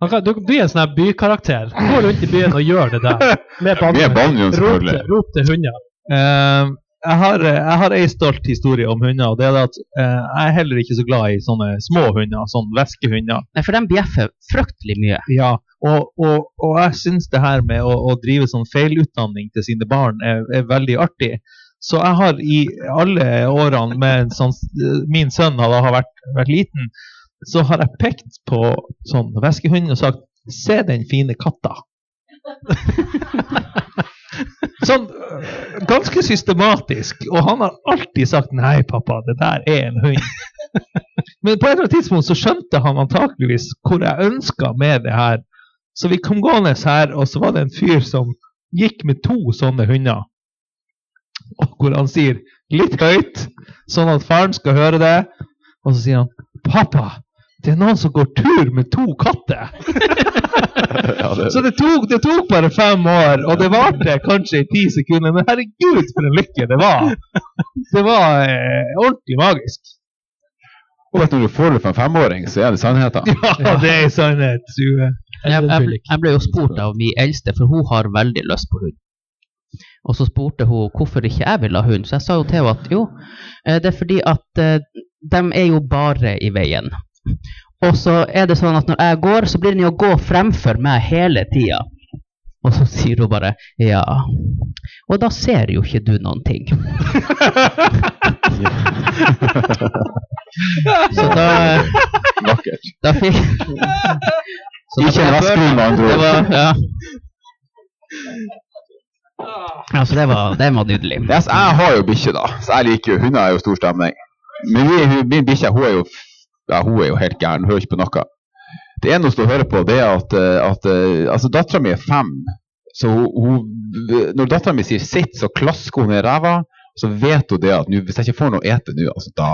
B: Han kan, du blir en sånn her bykarakter. Gå rundt i byen og gjør det der. Med
C: [laughs] Med
B: banjoen. Rop,
C: banjoen,
B: til-
C: selvfølgelig.
B: rop til hunder.
D: Eh, jeg har, eh, jeg har ei stolt historie om hunder, og det er det at eh, jeg er heller ikke så glad i sånne små hunder, sånn væskehunder.
A: Nei, For de bjeffer fryktelig mye.
D: Ja, og, og, og jeg syns det her med å, å drive sånn feilutdanning til sine barn er, er veldig artig. Så jeg har i alle årene med sånn, min sønn har da har vært, vært liten, så har jeg pekt på sånn veskehund og sagt Se den fine katta. [laughs] sånn øh, ganske systematisk. Og han har alltid sagt nei, pappa, det der er en hund. Men på et eller annet tidspunkt så skjønte han antakeligvis hvor jeg ønska med det her. Så vi kom gående her, og så var det en fyr som gikk med to sånne hunder. Og hvor han sier litt høyt, sånn at faren skal høre det. Og så sier han 'Pappa, det er noen som går tur med to katter'.
C: Ja, det,
D: Så det tok, det tok bare fem år, og det varte kanskje i ti sekunder. Men herregud, for en lykke det var! Det var eh, ordentlig magisk. [laughs]
C: og vet du, når du får det fra en femåring, så er det sannheten.
D: Ja, det er i sannhet. Sue.
A: Jeg, jeg, jeg ble jo spurt av min eldste, for hun har veldig lyst på hund. Og så spurte hun hvorfor ikke jeg ville ha hund, så jeg sa jo til henne at jo, eh, det er fordi at eh, de er jo bare i veien. Og så er det sånn at når jeg går, så blir den jo å gå fremfor meg hele tida. Og så sier hun bare ja. Og da ser jo ikke du noen ting. [laughs] så da, eh,
C: Vakkert.
A: da fikk så da
C: Ikke en
A: fikk jeg børs.
C: vaskehund, med andre
A: Det
C: ord.
A: var, ja. ja, så Altså, det var, det var nydelig.
C: Ja, så altså, jeg har jo bikkje, da. Så jeg liker jo Hunder er jo stor stemning. Men vi, hun- min bikkje hun er jo ja, hun er jo helt gæren. Hører ikke på noe. Det eneste hun hører på, det er at, eh, at eh, altså, dattera mi er fem. Så hun, hun Når dattera mi sier 'sitt', så klasker hun i ræva. Så vet hun det at nå, hvis jeg ikke får noe å ete nå, altså, da,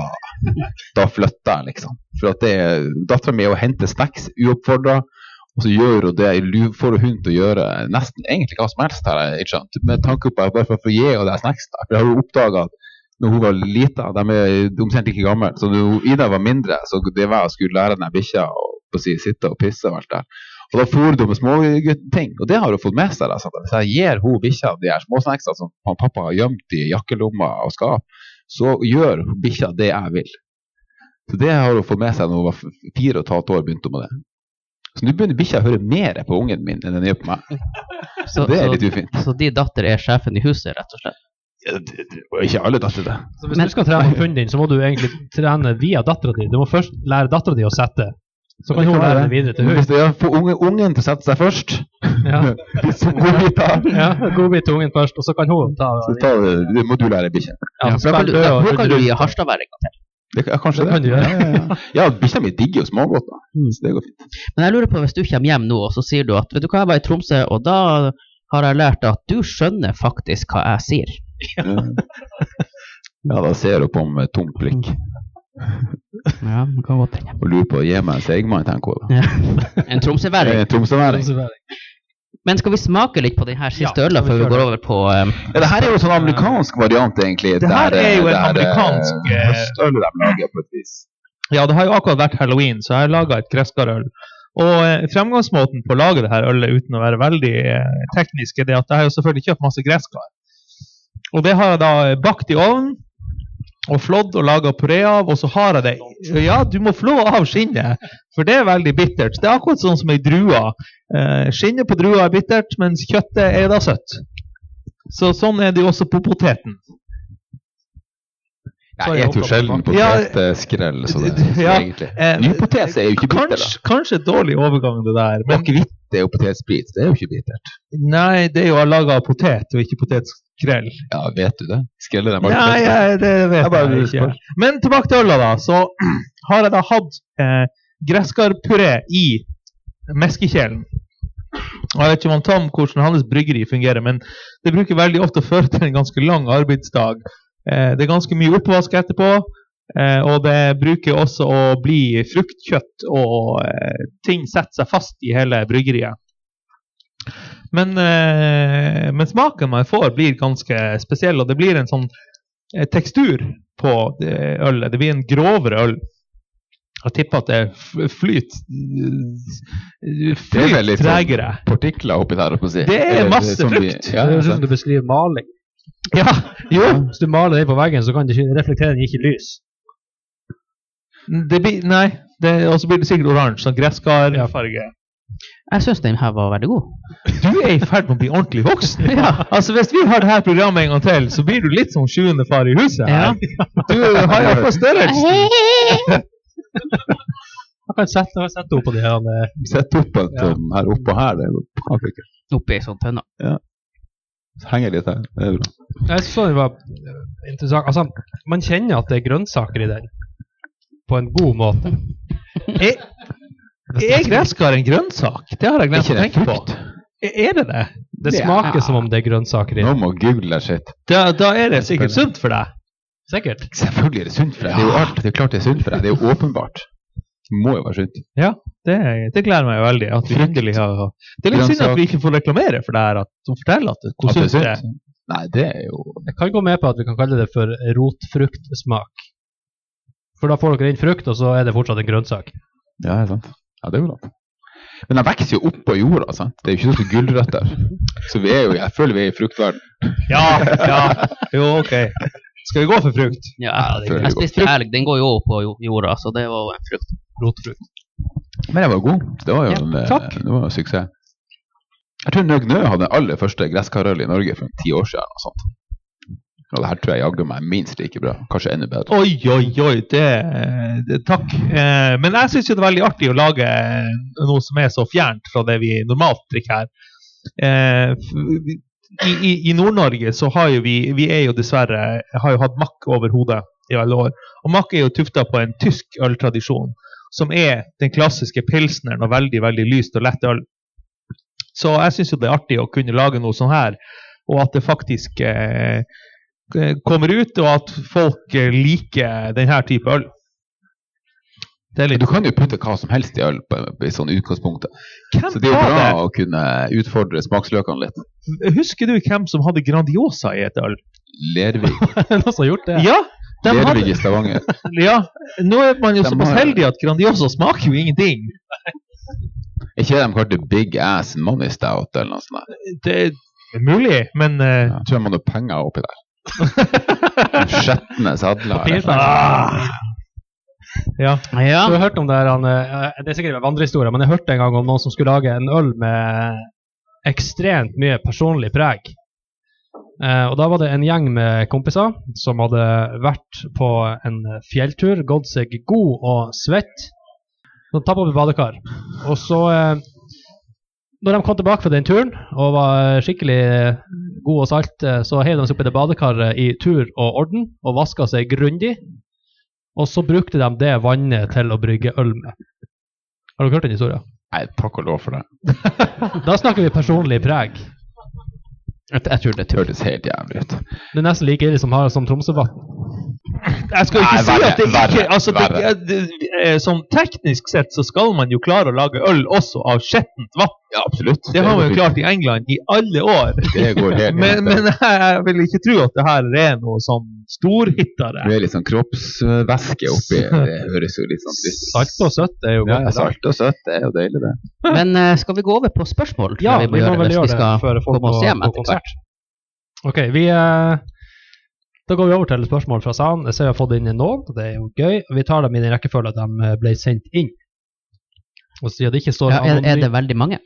C: da flytter jeg, liksom. For at dattera mi er å hente snacks uoppfordra. Og så gjør hun det, i lu- får hun hunden til å gjøre nesten egentlig hva som helst. her, ikke sant? Med tanke på at bare for å få gi henne de snacksene. For jeg har jo oppdaga at når hun var lita, de er omtrent like gamle, så når hun- Ida var mindre, så det var jeg skulle lære den bikkja å på å si, sitte og pisse og alt der. Og da for hun med småting, og det har hun fått med seg. Altså. Hvis jeg gir hun bikkja de her småsnacksene som han pappa har gjemt i jakkelomma og skap, så gjør bikkja det jeg vil. Så det har hun fått med seg når hun var f- fire og et halvt år, begynte hun med det. Så nå begynner bikkja å høre mer på ungen min enn den gjør på meg.
A: Så,
C: det er
A: så,
C: litt ufint.
A: så din datter er sjefen i huset, rett og slett?
C: Ja, det- det- og Ikke alle datter det.
B: Så hvis
A: Men-
B: du skal trene opp hunden din, så må du egentlig trene via dattera di. Du må først lære dattera di å sette. Så kan hun lære den videre til hunden.
C: Hvis det er å få unge, ungen til å sette seg først,
B: Ja.
C: [laughs] så går vi da.
B: Ja, Godbit til ungen først, og så kan hun ta
C: [laughs] Så ta, det- det må du lære bikkja.
A: Da
B: ja,
A: kan du,
B: spennende,
A: da,
B: og
A: hun kan du
B: rundt.
A: gi Harstadværinga til.
C: Det, kan- ja, kanskje
B: Det kan du gjøre.
C: Ja, ja, ja. ja bikkja mi digger jo smågodt, da. så det går fint.
A: Men jeg lurer på, hvis du kommer hjem nå, og så sier du at vet du hva, jeg var i Tromsø, og da har jeg lært at du skjønner faktisk hva jeg sier.
C: Ja, da ser hun på meg med tomt blikk
A: Ja, det kan godt hende.
C: og lurer på å gi meg en seigmann, tenker hun. Eh,
A: En
C: Er
A: tromsøværing.
C: det
B: Altså-
C: Tromsøværing.
A: Men skal vi smake litt på den her siste
B: Ja,
A: øla
B: vi
A: før vi
B: kjører.
A: går over på um,
C: Ja, det her er jo sånn amerikansk variant, egentlig.
D: Det her
C: der,
D: er jo
C: eh,
D: en
C: der, eh,
D: amerikansk, eh,
C: høstøl de lager, på et vis.
D: Ja, det har jo akkurat vært halloween, så jeg har laga et gresskarøl. Og eh, fremgangsmåten på å lage det her ølet uten å være veldig eh, teknisk, er det at jeg har jo selvfølgelig kjøpt masse gresskar. Og det har jeg da eh, bakt i ovnen og flådd og laga puré av, og så har jeg det Ja, du må flå av skinnet, for det er veldig bittert. Det er akkurat sånn som ei drue. Eh, skinnet på drua er bittert, mens kjøttet er da søtt. Så sånn er det jo også på poteten.
C: Jeg spiser jo sjelden
D: Ja,
C: potetskrell, så det så
D: [laughs] ja.
C: egentlig.
D: Eh,
C: Ny potet er jo ikke bitter, da.
D: Kanskje, kanskje dårlig overgang, det der. Men
C: Akevitt er jo potetsprit, det er jo ikke bitter.
D: Nei, det er jo laga av potet og ikke potetskrell.
C: Ja, vet du det? Skreller de bare
D: Nei, jeg, det vet
C: Jeg
D: jeg,
C: bare lurer
D: ikke. Men tilbake til øla, da. Så [clears throat] har jeg da hatt eh, gresskarpuré i meskekjelen. Og Jeg vet ikke om han Tom hvordan hans bryggeri fungerer, men det bruker veldig ofte å føre til en ganske lang arbeidsdag. Eh, det er ganske mye oppvask etterpå, eh, og det bruker også å bli fruktkjøtt, og eh, ting setter seg fast i hele bryggeriet. Men, eh, men smaken man får, blir ganske spesiell, og det blir en sånn eh, tekstur på det ølet. Det blir en grovere øl. Jeg tipper at det f- flyter
C: er
D: flyt
C: veldig sånn-
D: tregere.
C: Partikler oppi der, holdt på å si.
D: Det er
C: Eller
D: masse
C: som de-
D: frukt.
B: Det
C: Ja, ja,
B: høres ut som du beskriver maling.
D: Ja, jo.
B: Hvis du maler den på veggen, så kan det ikke reflektere den ikke lys.
D: Det blir, nei, det, og så blir det sikkert oransje. Sånn gresskarfarge.
A: Jeg syns den her var veldig god.
D: Du er i ferd med å bli ordentlig
B: [laughs]
D: voksen. Altså, Hvis vi har det her programmet en gang til, så blir du litt som sjuende far i huset. her. sånn- Du har jo fått størrelsen.
B: Jeg kan sette, jeg setter opp på de her eh,
C: Sett opp en
B: Ja.
C: sånn her oppå her, det er jo Afrika.
A: Oppi ei sånn tønne.
C: Så henger jeg litt her, det er bra.
B: Jeg så det var interessant. Altså, man kjenner at det er grønnsaker i den. På en god måte. [laughs]
D: Er, er gresskar en grønnsak? Det har jeg glemt å tenke altså, på. Er det det?
B: Det
C: Ja.
B: smaker som om det er grønnsaker i
C: Nå
B: den.
C: må google that shit.
D: Da, da er det sikkert sunt for deg.
B: Sikkert.
C: Selvfølgelig er det sunt for deg, det er jo alt. Det er klart det er sunt for deg, det er jo åpenbart. Det må jo være sunt.
D: Det, det gleder meg veldig. at vi endelig har... Det er litt synd at vi ikke får reklamere for det her. at de forteller at det, hvor
C: At det er
D: sunt det er.
C: sunt. Nei, det er jo
B: Jeg kan gå med på at vi kan kalle det for rotfruktsmak. For da får dere inn frukt, og så er det fortsatt en grønnsak.
C: Ja, det er sant. Ja, det er jo sant. Men de vokser jo oppå jorda, sant. Det er jo ikke sånn som gulrøtter. [laughs] Så vi er jo, jeg føler vi er i fruktverden.
D: Ja, ja. Jo, OK. Skal vi gå for frukt?
A: Ja,
C: det er
A: jeg, jeg spiste elg, den går jo over på jo- jorda, så det var jo en frukt.
B: Rotfrukt.
C: Men jeg var god. Det var jo
A: Ja,
C: en, eh,
A: takk.
C: det var en suksess. Jeg tror Nøgnø hadde den aller første gresskarøl i Norge for ti år siden. Og, sånt. og det her tror jeg jaggu meg er minst like bra. Kanskje enda bedre.
D: Oi, oi, oi. Det, eh, det, takk. Eh, men jeg syns det er veldig artig å lage eh, noe som er så fjernt fra det vi normalt drikker her. Eh, f- vi- I i, i Nord-Norge så har jo vi Vi er jo dessverre har jo hatt makk over hodet i alle år. Og makk er jo tufta på en tysk øltradisjon, som er den klassiske pilsneren og veldig, veldig lyst og lett øl. Så jeg syns jo det er artig å kunne lage noe sånn her, og at det faktisk eh, eh, kommer ut, og at folk eh, liker denne type øl. Det er
C: Men
D: litt
C: Du kan jo putte hva som helst i øl på, på i sånn utgangspunktet.
D: Hvem
C: Så det er jo
D: var
C: bra å kunne utfordre smaksløkene [laughs] litt.
D: det? Husker du hvem som hadde Grandiosa i et øl?
C: Lervig,
B: Noen som har gjort det?
D: Ja! De hadde,
C: Lervig i Stavanger.
D: ja. Nå er man jo
C: De
D: såpass
C: har-
D: heldig at Grandiosa smaker jo ingenting.
C: Er ikke de kalt det Big Ass Money Stout eller noe sånt? der?
D: Det er mulig, men eh,
C: Jeg tror de hadde penger oppi [laughs] der. Skjetne sadler. eller noe.
D: ah. Ja.
A: Ja.
B: Så jeg har hørt om det, her, han, eh, det er sikkert en vandrehistorie, men jeg hørte en gang om noen som skulle lage en øl med ekstremt mye personlig preg. Eh, og da var det en gjeng med kompiser som hadde vært på en fjelltur, gått seg god og svett. De tappa opp et badekar. Og så, eh, når de kom tilbake fra den turen og var skikkelig eh, god og salt, eh, så heiv de seg opp i det badekaret i tur og orden og vaska seg grundig. Og så brukte de det vannet til å brygge øl med. Har dere hørt den historien?
C: Nei, takk og lov for det.
B: Da snakker vi personlig preg.
A: Jeg, jeg tror det er
C: Det
A: tull.
C: hørtes helt jævlig ut.
B: Det er nesten like ille som, har- som Tromsøvatn.
D: Jeg skal jo ikke
C: Nei,
D: si
C: verre,
D: at det ikke
C: verre,
D: altså, det,
C: verre.
D: det, eh, Sånn teknisk sett så skal man jo klare å lage øl også av skjettent vann.
C: Ja, absolutt.
D: Det har man
C: går
D: jo
C: fint.
D: klart i England i alle år.
C: Det går [laughs] helt
D: Men,
C: fint, det.
D: men [laughs] jeg vil ikke tro at det her er noe sånn storhittere.
C: Det er litt sånn kroppsvæske oppi. Det høres jo litt sånn trist ut.
B: Salt og søtt er jo
C: Ja,
B: godt. altså. i
C: ja,
B: dag.
C: salt og søtt, det er jo deilig, det.
A: Men eh, skal vi gå over på spørsmål? tror
B: Ja,
A: jeg
B: vi må vel
A: hvis
B: gjøre
A: vi skal
B: det før folk
A: komme oss
B: går
A: hjem
B: på
A: etter hvert.
B: konsert. Ok, vi, eh, da går vi over til spørsmål fra salen. Jeg ser vi har fått inn noen, og det er jo gøy. Vi tar dem i den rekkefølgen de eh, ble sendt inn. Og siden det ikke står
A: Ja, er, er
B: anonym-
A: det veldig mange?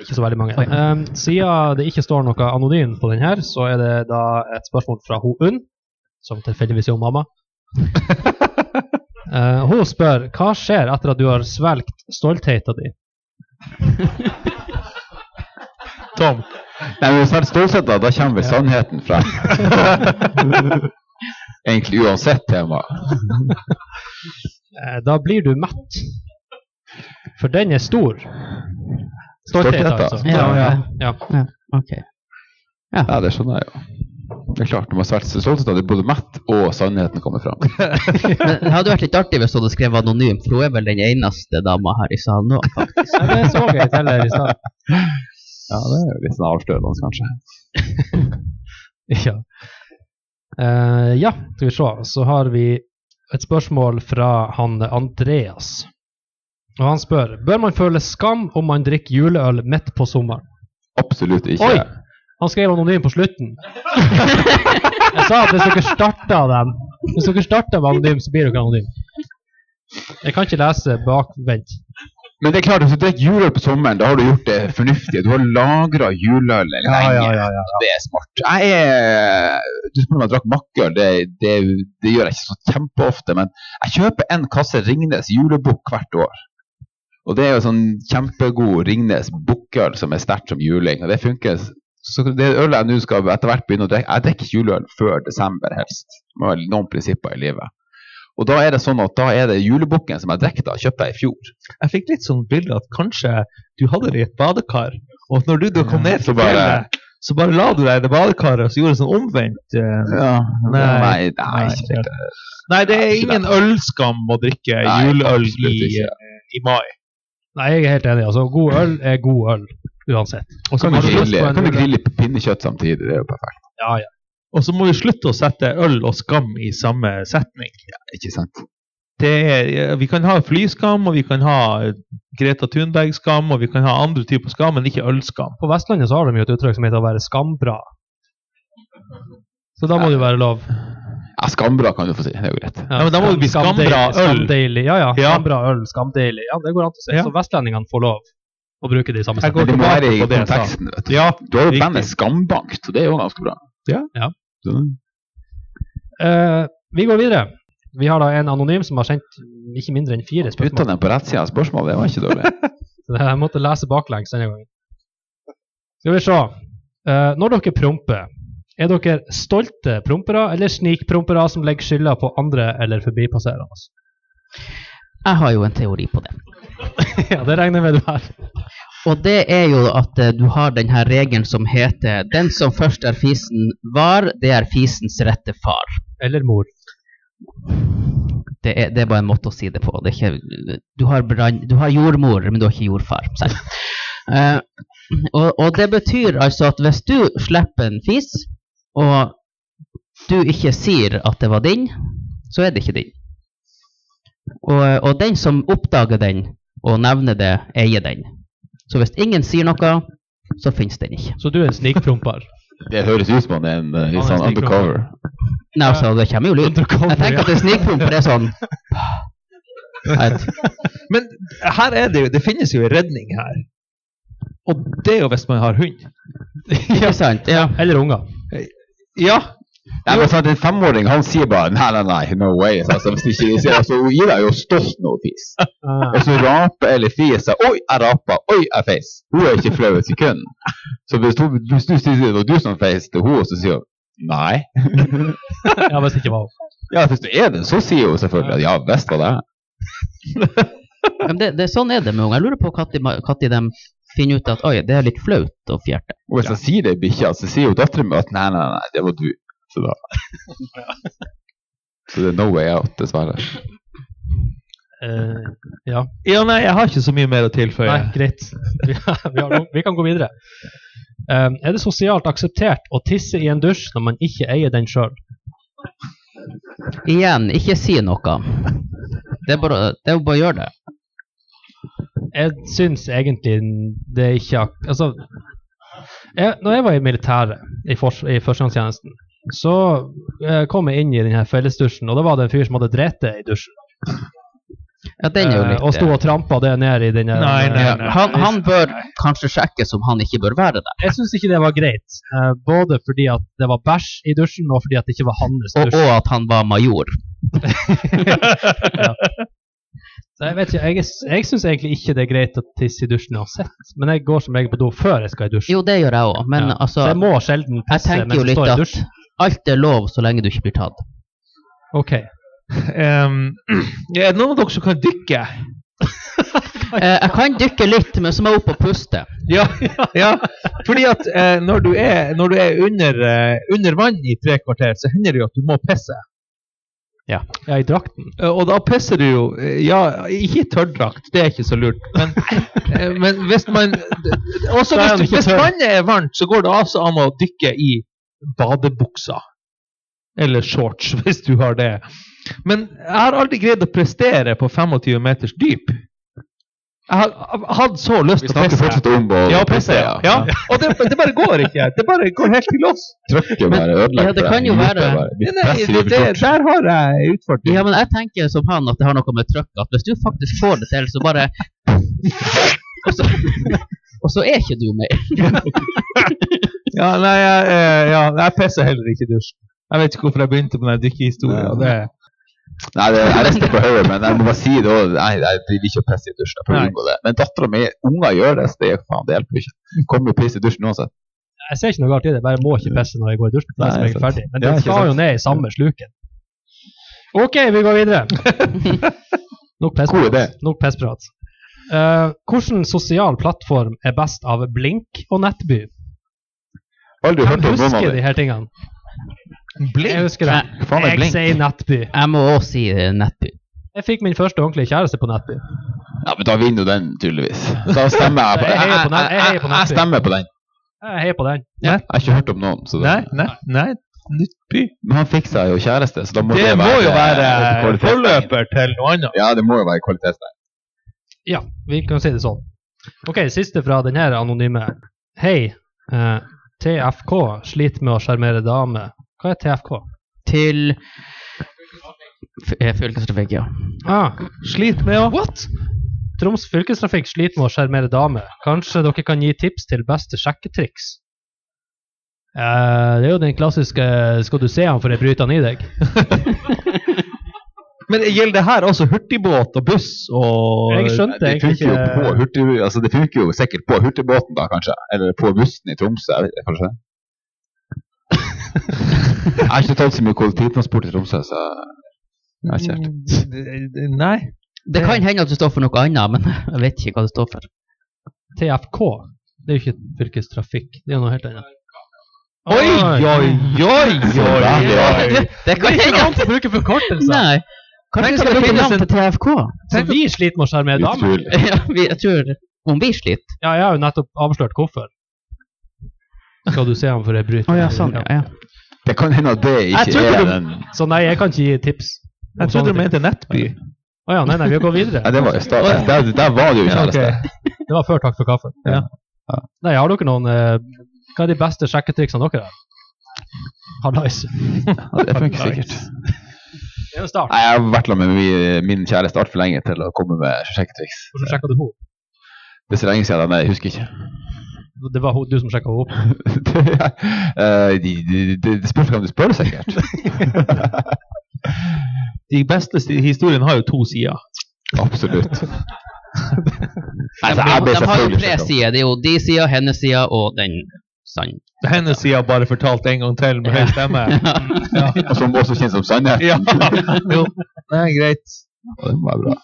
B: Ikke så veldig mange.
A: Oi.
B: Um, siden det ikke står noe anonym på den her, så er det da et spørsmål fra ho Unn, som tilfeldigvis er jo [laughs] mamma. Eh, hun spør hva skjer etter at du har svelgt stoltheten din?
D: Tom.
C: Nei, men snart stålsett, da. Da kommer vel sannheten frem. [laughs] Egentlig uansett tema.
B: Eh, da blir du mett. For den er stor. Stolthet,
C: Stolthet,
B: altså.
C: da.
B: Ja, ja. ja. [laughs]
A: Ok.
C: Ja, det skjønner jeg jo. Det er klart, når man svelger så stolthet, da er det både mett og sannheten kommer frem.
A: Men det hadde vært litt artig hvis du hadde skrevet anonymt, for hun er vel den eneste dama her i salen nå.
B: Nei, Det så jeg til her i stad.
C: Ja, det er jo litt sånn avslørende, kanskje.
B: [laughs] Ja. Eh, ja, skal vi se. Så har vi et spørsmål fra han eh, Andreas. Og han spør bør man føle skam om man drikker juleøl midt på sommeren.
C: Absolutt ikke.
B: Oi! Han skrev anonym på slutten. Jeg sa at hvis dere starta den Hvis dere starter med anonym, så blir dere anonym. Jeg kan ikke lese bakvendt.
C: Men det er klart, hvis du drikker juleøl på sommeren, da har du gjort det fornuftige. Du har lagra juleøl lenge. Det er smart. Jeg er, du spør om jeg drakk makkøl. Det, det, det gjør jeg ikke så kjempeofte. Men jeg kjøper en kasse Ringnes julebukk hvert år. Og det er jo sånn kjempegod Ringnes bukkøl som er sterkt som juling. Og det funker. Så det ølet jeg nå skal etter hvert begynne å drikke Jeg drikker ikke juleøl før desember helst. Det må være noen prinsipper i livet. Og da er det sånn at da er det julebukken som jeg drikker da, kjøpte jeg i fjor.
D: Jeg fikk litt sånn bilde at kanskje du hadde det i et badekar, og når du da kom ned
C: Så
D: til
C: bare-
D: fjellet, så bare la du deg i det badekaret og så gjorde du sånn omvendt. eh.
C: nei, nei,
D: Nei,
C: ikke
D: ikke det. Nei, det er
C: Ikke
D: ingen ølskam å drikke
C: Nei,
D: juleøl i, eh,
C: absolutt ikke.
D: i mai.
B: Nei, jeg er helt enig. altså. God øl er god øl uansett.
D: Og så
C: Kan
D: må
C: du
D: vi
B: lyst på
C: grille,
B: en
C: kan du
B: juleøl?
C: grille pinnekjøtt samtidig? Det er jo perfekt.
B: Ja, ja.
D: Og så må vi slutte å sette øl og skam i samme setning.
C: Ikke sant?
D: Det er, vi kan ha flyskam, og vi kan ha Greta Thunberg-skam, og vi kan ha andre typer skam, men ikke ølskam.
B: På Vestlandet så har de jo et uttrykk som heter å være skambra. Så da må det jo være lov.
C: Ja, skambra kan du få si. Det er jo greit.
D: Ja, men da må det bli skambra øl.
B: Skamdeilig. Ja, ja.
D: Ja.
B: Skambra øl, skamdeilig. Ja, det går an å si.
D: Ja.
B: Så vestlendingene får lov. å bruke de samme
D: Jeg går
C: Men det må
D: tilbake
C: være i
D: på det jeg sa.
C: konteksten. vet du.
D: Ja,
C: Du har jo
D: Riktig.
C: bandet Skambankt, og det er jo ganske bra.
D: Ja.
B: Ja.
C: Så,
B: Eh, vi går videre. Vi har da en anonym som har sendt ikke mindre enn fire
C: Putta
B: spørsmål.
C: den på rett side av spørsmålet, det var ikke dårlig.
B: Så Jeg måtte lese baklengs denne gangen. Skal vi se. Eh, når dere promper, er dere stolte prompere eller snikprompere som legger skylda på andre eller forbipasserende?
D: [laughs]
A: Jeg har jo en teori på det.
B: ja, det regner jeg med du har.
A: Og det er jo at eh, du har den her regelen som heter 'den som først er fisen var, det er fisens rette far'.
B: Eller mor.
A: Det er, det er bare en måte å si det på. Det er ikke, du, har brann- du har jordmor, men du har ikke jordfar selv. Eh, og, og det betyr altså at hvis du slipper en fis, og du ikke sier at det var din, så er det ikke din. Og, og den som oppdager den og nevner det, eier den. Så hvis ingen sier noe, så finnes den ikke.
B: Så du er en snikpromper.
C: Det høres ut som han er en eh,
B: Han
C: litt
B: er
C: sånn
B: stikk-
C: undercover.
A: Nei, altså, det kommer jo lyd. [laughs] Jeg tenker at det er snikpromp, for det er sånn Nei,
D: Men her er det jo, det finnes jo en redning her. Og det er jo hvis man har hund.
A: Ikke sant? Ja.
B: Eller unger.
D: Ja,
C: Nei, men sant, En femåring han sier bare nei, nei, nei, no way. Så, altså, hvis ikke de sier, altså, hun gir deg jo stolt noe fis.
B: Eh,
A: Ah.
C: Og så raper eller fiser. Oi, jeg rapa. Oi, jeg feis. Hun er ikke flau et sekund. Så hvis, hun, hvis du sier det var du som feis til henne, så sier hun
D: [laughs]
C: nei.
B: [laughs] ja, hvis det ikke var
C: Ja, hvis du er det, så sier hun selvfølgelig at ja, visst var det.
A: Ja, Men det, det, sånn er det med unger. Jeg lurer på når de finner ut at oi, det er litt flaut å fjerte.
C: Og hvis jeg sier det i bikkja, så sier jo datteren min at nei, nei, nei, det var du.
D: [laughs]
C: Så da Så det er no way out, dessverre.
B: Eh, Ja.
D: ja nei, jeg har ikke så mye mer å tilføye.
B: Nei, greit. [laughs] Vi, har, vi, har, vi kan gå videre. Eh, er det sosialt akseptert å tisse i en dusj når man ikke eier den sjøl?
A: Igjen, ikke si noe. Det er bare, det er jo bare å gjøre det.
B: jeg syns egentlig det er ikke ak- Altså jeg, Når jeg var i militæret, i, fors- i førstegangstjenesten, så eh, kom jeg inn i denne fellesdusjen, og da var det en fyr som hadde drept det i dusjen.
A: Ja, den er jo
B: eh,
A: litt
B: og sto og trampa det ned i den der-
D: Nei, nei,
A: ja,
D: nei.
A: han,
D: [laughs]
A: han bør kanskje sjekkes om han ikke bør være der.
B: Jeg syns ikke det var greit. eh, både fordi at det var bæsj i dusjen, og fordi at det ikke var hans
A: Og,
B: dusj.
A: og at han var major.
B: Så jeg vet ikke, jeg, er- jeg syns egentlig ikke det er greit å tisse i dusjen uansett, men jeg går som regel på do før jeg skal i dusjen.
A: Jo, det gjør jeg òg, men
B: Ja.
A: altså
B: så jeg må sjelden
A: Jeg
B: pisse
A: tenker jo
B: mens jeg
A: litt
B: står i
A: at
B: dusjen.
A: alt er lov så lenge du ikke blir tatt.
B: Ok.
D: Ehm, [clears throat] er det noen av dere som kan dykke?
A: Eh, jeg kan dykke litt, men så må jeg opp og puste.
D: Ja, [laughs] ja. Fordi at eh, når du er, når du er under, eh, under vann i tre kvarter, så hender det jo at du må pisse.
B: Ja, i drakten.
D: Eh, Og da pisser du jo eh, Ja, ikke i tørrdrakt, det er ikke så lurt. Men, eh, men hvis man Også
B: Da er
D: hvis,
B: han
D: du-
B: ikke
D: hvis
B: tørr.
D: vannet er varmt, så går det altså an å dykke i badebuksa. Eller shorts, [laughs] hvis du har det. Men jeg har aldri greid å prestere på 25 meters dyp. Jeg har jeg har hatt så lyst
C: Vi
D: til å
C: snakker
D: pisse.
C: fortsatt om å
D: Ja, pisse, ja. ja. [laughs] Og det, det bare går ikke. Det bare går helt til oss.
C: Trykket bare ødelegger
A: ja, det kan jo være-
C: Vi
D: Nei, nei,
C: presser i
D: det,
C: bort.
D: der har jeg utfordring.
A: Ja, men jeg tenker som han at det har noe med trøkk at hvis du faktisk får det til, så
B: [laughs]
A: bare Og så, [laughs] og så er ikke du med.
D: Ja, nei, jeg, eh, ja, jeg pisser heller ikke i dusjen. Jeg vet ikke hvorfor jeg begynte på den dykkehistorien. og det-
C: Nei, det, jeg rister
B: [laughs]
C: på hodet, men jeg må bare si det òg. Nei, jeg driver ikke og pisser i dusjen. Jeg prøver å
D: Nei.
C: unngå det. Men dattera mi, unger gjør det, så det, er faen, det hjelper jo ikke. Kommer jo piss i dusjen uansett.
B: Jeg ser ikke noe galt i det, jeg bare må ikke pisse når jeg går i dusjen. Da er
C: Nei,
B: jeg som regel
C: sant.
B: ferdig. Men
C: Ja,
B: det
C: ikke
B: skal
C: sant.
B: jo ned i samme sluken. OK, vi går videre. Nok
C: God idé.
B: pissprat. Nok pissprat. Eh, Hvilken sosial plattform er best av Blink og Nettby?
C: Aldri
B: Hvem
C: hørt om noen av
B: husker de
C: dem.
B: her tingene? Jeg
D: Blink?
B: husker det.
C: Faen, det er
B: Jeg
C: blink.
B: sier Nettby.
A: Jeg må òg si eh, Nettby.
B: Jeg fikk min første ordentlige kjæreste på Nettby.
C: Ja, men da vinner jo den, tydeligvis. Da stemmer jeg på
B: [laughs] Jeg
C: den.
B: heier på den. Jeg heier på den.
C: jeg stemmer på den.
B: Jeg heier på den.
C: Jeg har ikke hørt om noen. Så det.
D: Nei, nei, nei. Nyttby.
C: Men han fikk seg jo kjæreste, så da må det,
D: Det må eh, jo være
C: kvalitetstegn.
D: forløper til noe annet.
C: Ja, det må jo være kvalitetstegn.
B: Ja, vi kan si det sånn. Ok, siste fra denne anonyme. Hei, eh, TFK sliter med å sjarmere dame. Hva er TFK?
A: Til f- eh, fylkestrafikk, ja.
B: Ah,
D: Sliter med å
B: Troms fylkestrafikk sliter med å sjarmere damer. Kanskje dere kan gi tips til beste sjekketriks? Eh, det er jo den klassiske 'skal du se han for jeg bryter han i deg'.
D: Men gjelder det her også hurtigbåt og buss og
B: Jeg skjønte
C: Det
B: egentlig
C: funker jo på
B: ikke
C: hurtig, altså det funker jo sikkert på hurtigbåten, da, kanskje. Eller på bussen i Tromsø, jeg vet ikke, kanskje. [laughs] jeg har ikke tatt så mye kollektivtransport i Tromsø, så
D: Mm,
C: jeg har ikke helt.
D: Nei.
A: Det kan hende at det står for noe annet, men [laughs] jeg vet ikke hva det står for.
B: TFK. Det er jo ikke fylkestrafikk, det er noe helt annet.
D: Oi, oi, oi, oi! oi.
A: [laughs] Det kan
B: Det er
A: hende
B: noen
A: at
B: som bruker
D: altså.
B: forkortelser!
A: Nei.
B: Tenk
A: Kanskje
B: at
A: skal
B: det
A: vi finne
B: finnes
A: navn til TFK?
B: Så vi sliter med å sjarmere damer?
C: Utrolig.
A: [laughs] Ja, vi, jeg tror Om vi sliter?
B: Ja, jeg har jo nettopp avslørt hvorfor. Skal du se han for jeg bryter
A: Å
B: han i
A: ja,
B: deg?
A: sånn. Ja.
C: Det kan hende at det
B: Jeg
C: ikke
B: trodde
C: er
B: du-
C: den
B: Så nei, jeg kan ikke gi tips. om
D: Jeg trodde du
B: sånne ting.
D: mente Nettby.
B: Å ja, nei, nei, vi går videre.
C: Nei, det var jo sta- Der, der var det jo
B: Ja, ok.
C: kjæreste.
B: Det var før Takk for kaffen.
D: Ja.
C: Ja.
B: Nei, har dere noen eh, Hva er de beste sjekketriksene dere har? Hallais.
C: Ja, det funker sikkert.
B: Det er en start.
C: Nei, Jeg har vært sammen med mi- min kjæreste altfor lenge til å komme med sjekketriks.
B: Hvordan sjekka du henne?
C: Det er så lenge siden, nei, jeg husker ikke. [laughs]
B: Det var hun- du som sjekka henne opp.
C: Det, eh, de, de, de, de spørs hvem du spør, sikkert.
D: De beste sti- historiene har jo to sider.
C: Absolutt.
A: De,
C: Altså, jeg
A: de har
C: ble
A: jo
C: selvfølgelig
A: tre
C: sjekket opp.
A: sider. Det er jo de sida, hennes sida og den sann.
D: Hennes side har bare fortalt en gang til med høy stemme.
C: Og som også kjennes som sannhet. [laughs]
D: Ja, jo. Nei, greit.
C: Det var bra.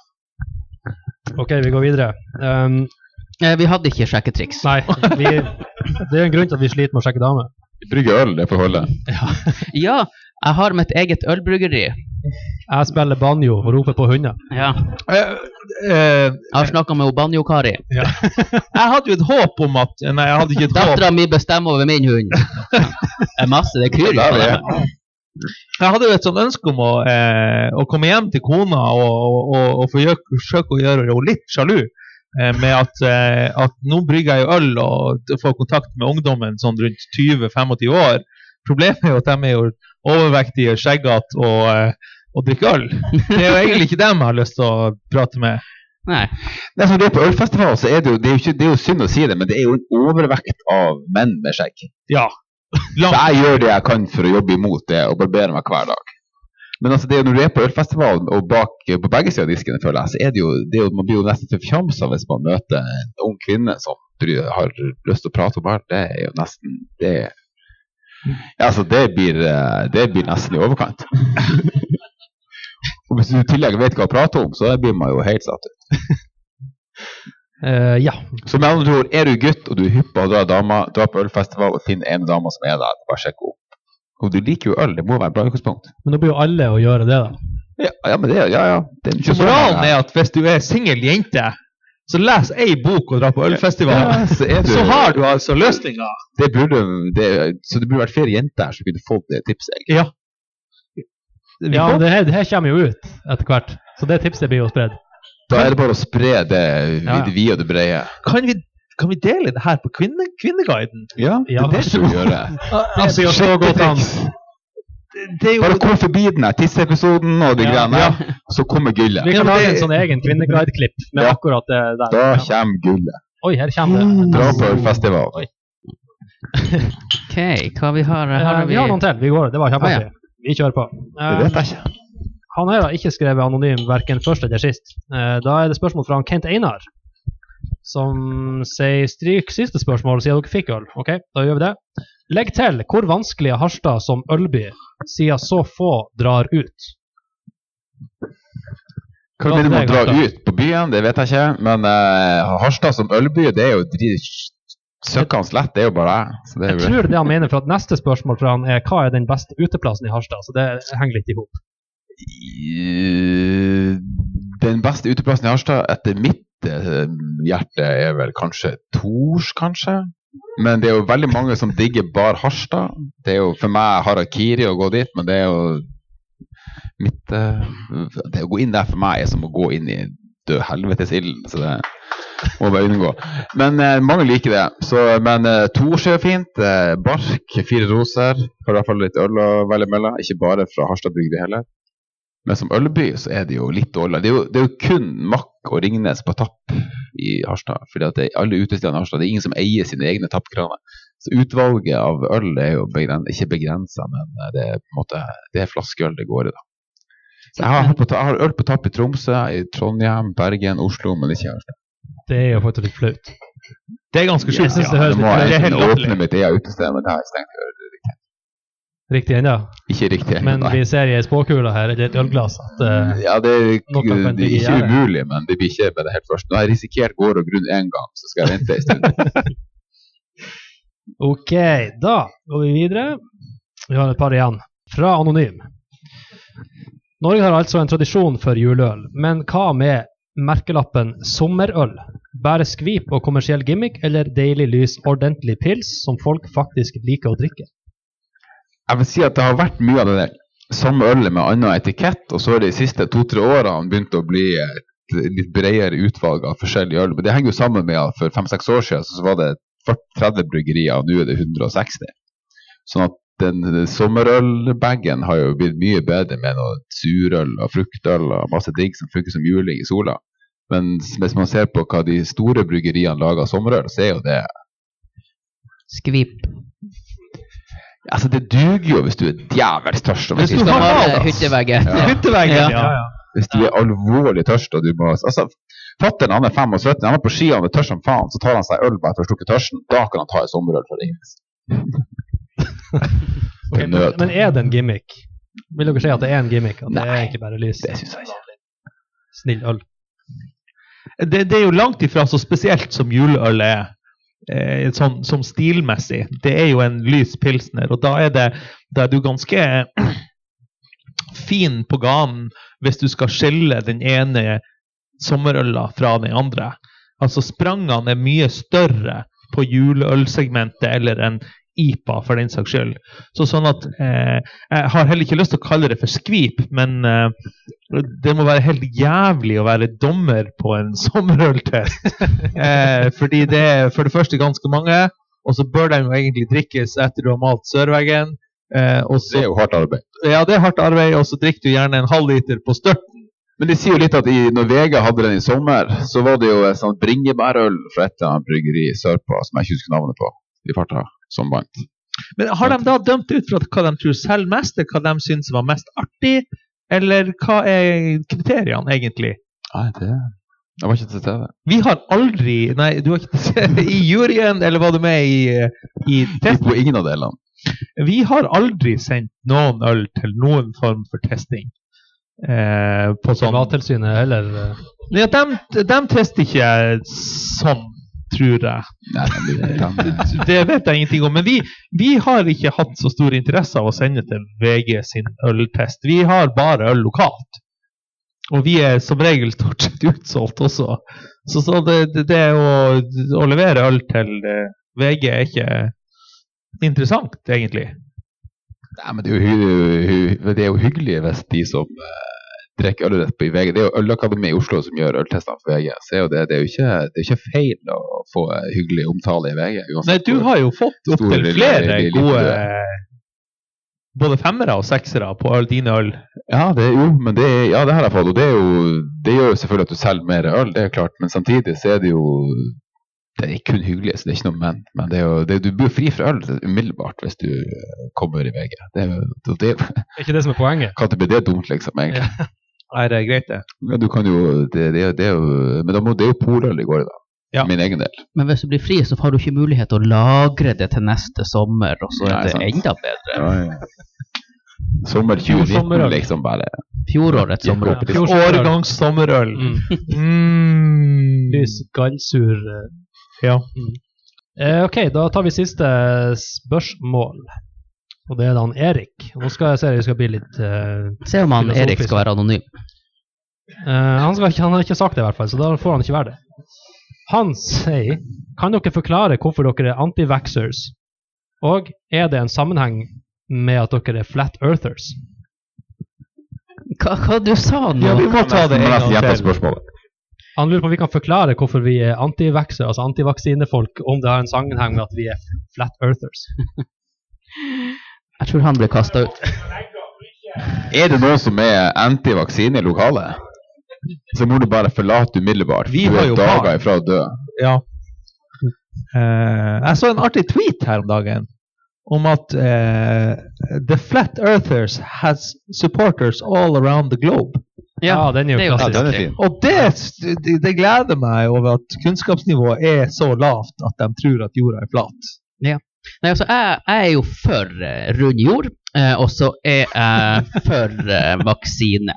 B: OK, vi går videre. Um,
A: Eh, Vi hadde ikke sjekketriks.
B: nei, vi, det er jo en grunn til at vi sliter med å sjekke damer.
C: Brygge øl, det får holde.
A: Ja, jeg har mitt eget ølbryggeri.
B: Jeg spiller banjo og roper på hunder.
A: Ja.
D: Eh, eh,
A: Jeg har snakka med Banjo-Kari.
D: jeg hadde jo et håp om at Nei, jeg hadde ikke et håp.
A: Dattera mi bestemmer over min [laughs] hund. Det er masse, det er kur.
C: Der vi er.
D: Jeg hadde jo et sånt ønske om å, eh, å komme hjem til kona og, og, og, og forsøke, forsøke å gjøre henne litt sjalu. Eh, med at, eh, at nå brygger jeg jo øl og d- får kontakt med ungdommen sånn rundt 20-25 år. Problemet er jo at de er jo overvektige, skjeggete og, eh, og drikker øl. Det er jo egentlig ikke dem jeg har lyst til å prate med.
A: Nei.
C: Nei, som det er på ølfestival, så er det, jo, det, er jo ikke, det er jo synd å si det, men det er jo en overvekt av menn med skjegg.
D: Ja.
C: Så
D: Langt.
C: jeg gjør det jeg kan for å jobbe imot det, og barberer meg hver dag. Men altså, det er jo når du er på ølfestivalen og bak, på begge sider av disken, føler jeg, så er det jo, det er jo Man blir jo nesten forfjamsa hvis man møter en ung kvinne som bry- har lyst til å prate om alt. Det er jo nesten Det, ja, altså, det, blir, eh, det blir nesten i overkant. [laughs] og hvis du i tillegg vet hva hun prater om, så blir man jo helt satt ut.
B: Eh, ja.
C: Så med andre ord, er du gutt og du er hypp på å dra dama, dra på ølfestival og finn en dame som er der, bare sjekk opp. Og du liker jo øl, det må være et bra utgangspunkt.
B: Men nå blir jo alle å gjøre det, da.
C: Ja, ja, men det ja, ja. Det er ikke
D: Så
C: så
D: moralen er at hvis du er singel jente, så les ei bok og dra på ølfestival.
C: ja, så, er du,
D: Så har du altså løsninga.
C: det burde, det, så det burde vært flere jenter her som kunne fått det tipset. egentlig.
D: Ja.
B: Ja, men det her, det her kommer jo ut etter hvert. Så det tipset blir jo spredd.
C: Da er det bare å spre det
B: Ja, ja.
C: vide vide og det brede.
D: kan vi, kan vi dele det her på kvinne, Kvinneguiden?
C: Ja, det
B: Ja,
C: er det
B: vær så
C: du
B: god.
C: må [laughs] gjøre.
B: Altså, jo, så godt an.
D: Det er jo
C: Bare kom forbi den her tisseepisoden og de
B: Ja,
C: greiene der, så kommer gullet.
B: Vi kan
D: Ja, men
B: lage
D: det-
B: en sånn egen kvinneguide-klipp med
C: Ja.
B: akkurat det der.
C: Da Mm.
B: Ja.
C: kommer gullet.
B: Oi, her kommer det.
C: Dra på ølfestival.
A: OK, hva vi har her?
B: Eh,
A: Har
B: vi
A: vi
B: har noen til. Vi går. Det var
A: Ah,
B: kjempeartig. Vi kjører på.
C: Det
B: Eh,
C: vet jeg ikke.
B: han har da ikke skrevet anonym verken først eller sist. Eh, da er det spørsmål fra han Kent Einar, som sier stryk siste spørsmål siden dere fikk øl. Ok, da gjør vi det. Legg til hvor vanskelig er Harstad som ølby, siden så få drar ut.
C: Hva
B: Ja,
C: mener du med
B: det
C: å
B: er
C: dra
B: godt, da.
C: ut på byen? Det vet jeg ikke. Men eh, Harstad som ølby, det er jo drit... Søkkans lett, det er jo bare jeg. Så det er
B: Jeg
C: jo
B: tror det han mener, for at neste spørsmål fra han er hva er den beste uteplassen i Harstad? Så det henger litt i hop.
C: Eh, Den beste uteplassen i Harstad etter mitt eh, hjerte er vel kanskje Tors, kanskje. Men det er jo veldig mange som digger Bar Harstad. Det er jo for meg harakiri å gå dit, men det er jo mitt eh, Det å gå inn der for meg er som å gå inn i død helvetes ilden, så det [laughs] må bare unngå. Men eh, mange liker det. Så, men eh, Tors er jo fint. Eh, bark, Fire roser. Har i hvert fall litt øl å velge mellom. Ikke bare fra Harstad bryggeri heller. Men som ølby så er det jo litt dårligere. Det er jo, det er jo kun Mack Bukk og Ringnes på Tapp i Harstad. fordi at det, alle utestedene i Harstad, det er ingen som eier sine egne tappkraner. Så utvalget av øl er jo begren, ikke begrensa, men eh, det er på en måte det er flaskeøl det går i, da. Så jeg har, hatt på ta- jeg har øl på tapp i Tromsø, i Trondheim, Bergen, Oslo, men ikke i Harstad.
B: Det er jo faktisk litt flaut.
D: Det er ganske
B: Jeg
D: sjukt.
B: synes det høres
C: Da må
B: litt-
D: det er
C: jeg
D: helt
C: enten
D: latterlig.
C: åpne mitt eget utested, men det har jeg stengt. for.
B: Riktig ennå.
C: [laughs] Ikke riktig.
B: Men
C: nei.
B: vi ser i ei spåkule her, eller et ølglass, at eh,
C: Ja, det er
B: Noe
C: ikke,
B: kan
C: det er
B: ligge i
C: ikke
B: gjerdet.
C: umulig, men det blir ikke med det helt først. Nå har jeg risikert gård og grunn én gang, så skal jeg vente en stund.
B: Ok, da går vi videre. Vi har et par igjen. Fra Anonym. Norge har altså en tradisjon for juleøl, men hva med merkelappen 'sommerøl'? Bare skvip og kommersiell gimmick, eller deilig lys, ordentlig pils som folk faktisk liker å drikke?
C: Jeg vil si at det har vært mye av det der samme ølet med annen etikett, og så har det de siste to-tre årene begynt å bli et litt bredere utvalg av forskjellige øl. Men det henger jo sammen med at for fem-seks år siden så var det 30 bryggerier, og nå er det 160. Sånn at den sommerølbagen har jo blitt mye bedre med noe surøl og fruktøl og masse digg som funker som juling i sola. Men hvis man ser på hva de store bryggeriene lager av sommerøl, så er jo det
A: Skvip.
C: Altså, det duger jo hvis du er djevelsk tørst. og
A: Hvis du
C: sier sånn,
A: har
C: «Ass».
A: hytteveggen.
C: Ja.
D: Hytteveggen,
A: Ja.
D: ja.
C: Hvis du er alvorlig tørst og du må altså, Fatter'n han er 75, han er på skiene og er tørst som faen. Så tar han seg øl bare for å slukke tørsten. Da kan han ta en sommerøl for det.
B: Ok, men,
C: Nød.
B: men er det en gimmick? Vil dere si at det er en gimmick? At det er
C: Nei,
B: ikke bare lys,
C: Det syns jeg ikke.
B: snill øl?
D: Det, det er jo langt ifra så spesielt som juleøl er. Eh, sånn, som stilmessig. Det er jo en lys pilsner, og da er, det, da er du ganske fin på ganen hvis du skal skille den ene sommerøla fra den andre. Altså sprangene er mye større på juleølsegmentet eller en IPA, for den saks skyld. Så sånn at eh, Jeg har heller ikke lyst til å kalle det for skvip, men eh, det må være helt jævlig å være dommer på en [laughs] sommerøltest. eh, fordi det er for det første ganske mange, og så bør de jo egentlig drikkes etter du har malt sørveggen. Eh, og
C: Det
D: så,
C: er jo hardt arbeid.
D: ja, det er hardt arbeid, og så drikker du gjerne en halv liter på størten.
C: Men de sier jo litt at i, når Vega hadde den i sommer, så var det jo et sånt bringebærøl fra et eller annet bryggeri sørpå som jeg ikke husker navnet på, i farta, som vant.
D: Men har de da dømt ut fra hva de tror selv mest, hva de syns var mest artig, eller hva er kriteriene egentlig?
C: Nei, det Jeg var ikke til stede.
D: Vi har aldri Nei, du har ikke I juryen, eller var du med i, eh, i
C: Ikke
D: testen?
C: på ingen av delene.
D: Vi har aldri sendt noen øl til noen form for testing. Eh, på sånn.
B: Privattilsynet heller eh,
D: Ja, dem, dem tester ikke sånn, tror jeg.
C: Nei, det blir ikke den.
D: Det vet jeg ingenting om. Men vi, vi har ikke hatt så stor interesse av å sende til VG sin øltest. Vi har bare øl lokalt. Og vi er som regel stort sett utsolgt også. Så, så det, det, det å, å levere øl til eh, VG er ikke interessant, egentlig.
C: Nei, men det er, jo, hy- hy- det er jo hyggelig hvis de som eh, drikker øl på i VG Det er jo Ølakademiet i Oslo som gjør øltestene for VG. Så er jo det, det, er jo ikke, det er jo ikke feil å få eh, hyggelig omtale i VG. uansett
D: Nei, du
C: hvor-
D: har jo fått
C: Store
D: opptil
C: lille-
D: flere
C: lille-
D: gode eh,
C: lille-
D: Både femmere og seksere på øl, dine øl.
C: Ja, det, er jo, men det, er- ja, det har jeg fått. Og det, er jo, det gjør jo selvfølgelig at du selger mer øl, det er klart. Men samtidig så er det jo Det er kun hyggelig, så det er ikke noe men. Men det er jo, det, du blir jo fri fra øl umiddelbart hvis du eh, kommer i VG. Det er [laughs] jo, det,
B: Det er ikke det som er poenget.
C: kan det bli det dumt, liksom? egentlig?
D: Nei, det er greit, det.
C: Ja, du kan jo det, det, det er jo Men da må det er jo poløl i går, da.
D: Ja.
C: Min egen del.
A: Men hvis du blir fri, så har du ikke mulighet til å lagre det til neste sommer, og så
C: Nei,
A: er det
C: sant.
A: enda bedre.
C: Sommer
B: Sommerøl.
C: 2019, liksom bare.
A: Fjorårets
C: Gikk
A: sommer.
C: opp i det.
B: Fjordsommerøl.
D: Årgangs sommerøl. Mm.
B: Lys, gallsur eh.
D: Ja.
B: Eh, Ok, da tar vi siste spørsmål. Og det er da han Erik. Nå skal jeg se jeg skal bli litt eh,
A: Se om han Erik
B: Filosofisk.
A: skal være anonym.
B: Eh, han, skal ikke, han har ikke sagt det, i hvert fall, så da får han ikke være det. Han sier Kan dere forklare hvorfor dere er anti-vaxxers? Og er det en sammenheng med at dere er flat earthers?
A: Hva, hva du sa nå?
D: ja, vi må ta det
C: Må
D: en
C: nesten
D: gang
C: gjenta
D: til.
C: spørsmålet.
B: Han lurer på om vi kan forklare hvorfor vi er anti-vaxxere, altså antivaksinefolk, om det har en sammenheng med at vi er flat earthers.
A: Jeg tror han ble kasta ut.
C: Er det noen som er antivaksine i lokalet? Så må du bare forlate umiddelbart.
D: Vi
C: for du
D: har
C: er
D: jo
C: dager
D: barn.
C: ifra å dø.
D: Ja. Eh, jeg så en artig tweet her om dagen om at eh, The Flat Earthers has supporters all around the globe.
B: Ja, den er
A: det er
B: jo
A: jo
C: Ja,
B: klassisk.
C: den er fin.
D: Og det, det- det gleder meg over at kunnskapsnivået er så lavt at de tror at jorda er flat.
A: Nei, altså, jeg, jeg er jo for eh, rund jord, eh, og så er jeg for eh, vaksine.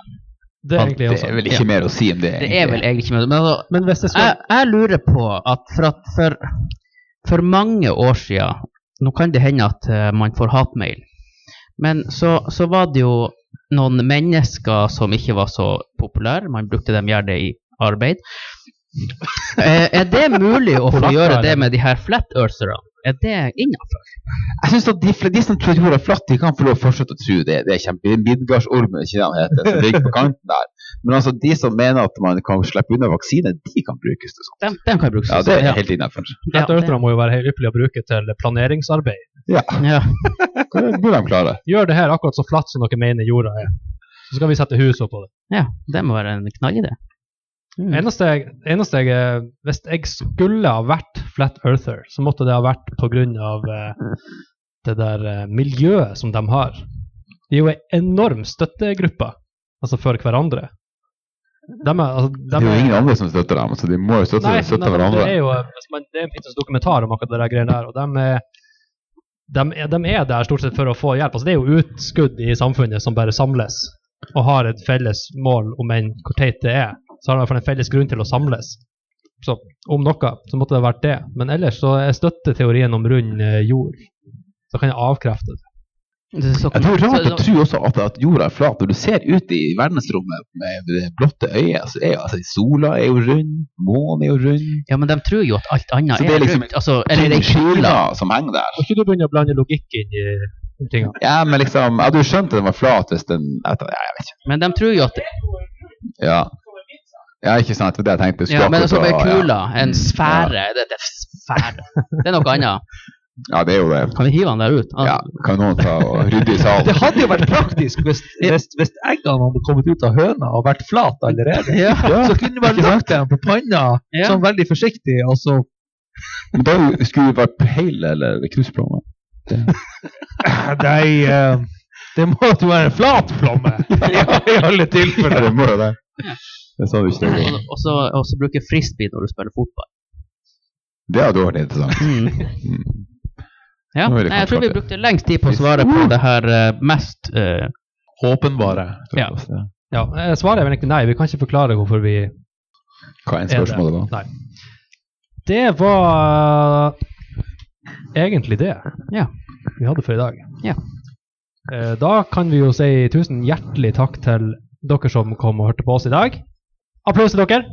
B: Det er egentlig
C: Det
B: også.
C: er vel ikke mer å si om det.
A: Det er vel egentlig ikke Men altså,
B: Men hvis det skal
A: jeg, jeg lurer på at for, at for, for mange år siden Nå kan det hende at eh, man får hatmail, men så, så var det jo noen mennesker som ikke var så populære. Man brukte dem gjerne i arbeid. Eh, er det mulig
C: [laughs]
A: å få
B: Polakker,
A: gjøre det
B: eller?
A: med de her flat eartherne? Er det innafor?
C: Jeg synes at de, fl- de som tror jorda er flatt, de kan få lov å fortsette å tro det. Det er kjempe det er Midgardsormen, ikke det han heter, som ligger på kanten der. Men altså, de som mener at man kan slippe unna vaksine, de kan brukes til sånt.
A: Dem, dem kan brukes.
C: Ja, det er helt innafor.
A: Ja,
B: Dette østerne må jo være helt ypperlig å bruke til planeringsarbeid.
A: ja.
C: Det burde de klare.
B: Gjør det her akkurat så flatt som dere mener jorda er. Så skal vi sette hus oppå det.
A: Ja, det må være en knallidé. Mm.
B: Eneste jeg, eneste jeg eh, Hvis jeg skulle ha vært Flat Earther, så måtte det ha vært pga. Uh, det der eh, miljøet som de har. De er jo ei enorm støttegruppe, altså for hverandre. De er, altså, de
C: Det er jo
B: er-
C: ingen andre som støtter dem, så de må jo støtte,
B: Nei,
C: støtte
B: men
C: hverandre.
B: Det er jo hvis man, det er en fin sånn dokumentar om akkurat det der greiene der, og de er, de, er, de er der stort sett for å få hjelp. Altså, det er jo utskudd i samfunnet som bare samles, og har et felles mål om enn hvor teit det er. Så har de i hvert fall en felles grunn til å samles. Så om noe, så måtte det vært det. Men ellers så jeg støtter teorien om rund eh, jord. Så kan jeg avkrefte det.
A: Det er så-
C: Jeg tror det er rart
A: så-
C: å tro også at, at jorda er flat. Når du ser ut i verdensrommet med det blotte øyet, så er jo altså, sola er jo rund, månen er jo rund.
A: Ja, men de tror jo at alt annet
C: Så det er
A: er
C: liksom
A: rundt. Altså, eller det er kula.
C: Sola som henger der.
B: Må ikke du begynne å blande logikk inn i i tinga?
C: Ja, men liksom, jeg hadde jo skjønt at den var flat hvis den jeg vet- ja, Jeg vet ikke.
A: Men de tror jo at
C: Ja. ja, ikke sant. Det var det jeg tenkte.
A: ja, Men altså med
C: Skråkete,
A: kula, en
C: Mm,
A: sfære det, det er sfære. Det er noe annet.
C: Ja. ja, det er jo det.
A: Kan vi hive han der ut? Altså,
C: Ja, kan noen ta og rydde
D: Det
C: i
A: [laughs]
C: salen?
D: hadde jo vært praktisk
B: [laughs]
D: hvis, hvis, hvis eggene hadde kommet ut av høna og vært flat allerede.
A: Ja.
D: Så kunne du bare lagt dem på panna
A: Ja.
D: sånn veldig forsiktig, og så
C: Men da skulle det vært peil eller krussplomme.
D: Nei, eh, det måtte være en flat [laughs] plomme i alle
C: Ja,
D: tilfeller.
C: det må jo det. Det sa du ikke. det
A: [laughs]
C: var-
A: Og- Og så, og så bruke frisbee når du spiller fotball.
C: Det hadde vært interessant. Mm.
A: Ja,
C: Nå er det
A: Nei, jeg tror vi
C: kanskje-
A: brukte lengst tid på å svare på det her eh, mest eh,
D: Åpenbare.
A: Ja.
B: Ja, eh, svaret er vel egentlig nei. Vi kan ikke forklare hvorfor vi
C: Hva
B: Er
C: enn
B: det?
C: spørsmålet var.
B: Nei. Det var egentlig det
A: Ja.
B: vi hadde for i dag.
A: Ja.
B: Eh, Da kan vi jo si tusen hjertelig takk til dere som kom og hørte på oss i dag. Applaus til dere!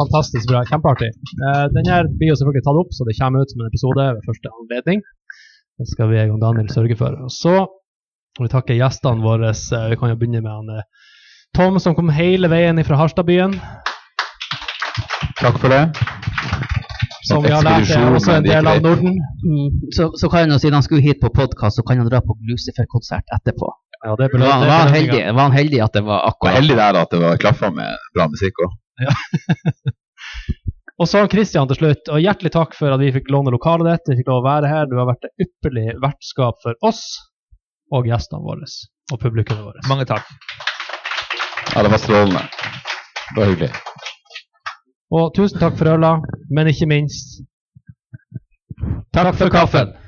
B: Fantastisk bra. Kjempeartig. Eh, Den her blir jo selvfølgelig tatt opp, så det kommer ut som en episode ved første anledning. Det skal vi og Daniel sørge for. Og så vil vi takke gjestene våre. Eh, Vi kan jo begynne med han eh, Tom som kom hele veien fra Harstadbyen.
C: Takk for det.
B: Som vi har lært er også en del av Norden. Mm.
A: så, så kan han si at han skulle hit på podkast, så kan han dra på Glucifer-konsert etterpå.
B: Ja, det er
A: Var, var,
B: belønning-
A: han
B: belønninga.
A: heldig, var han heldig at det var
C: Hvor
A: akkurat
C: heldig det er at det var klaffa med bra musikk òg.
B: Og så Christian til slutt. og Hjertelig takk for at vi fikk låne lokalet ditt. Vi fikk lov å være her. Du har vært et ypperlig vertskap for oss og gjestene våre. Og publikummet vårt.
D: Mange takk.
C: Ja, det var strålende. Det var hyggelig.
B: Og tusen takk for øla, men ikke minst Takk for kaffen!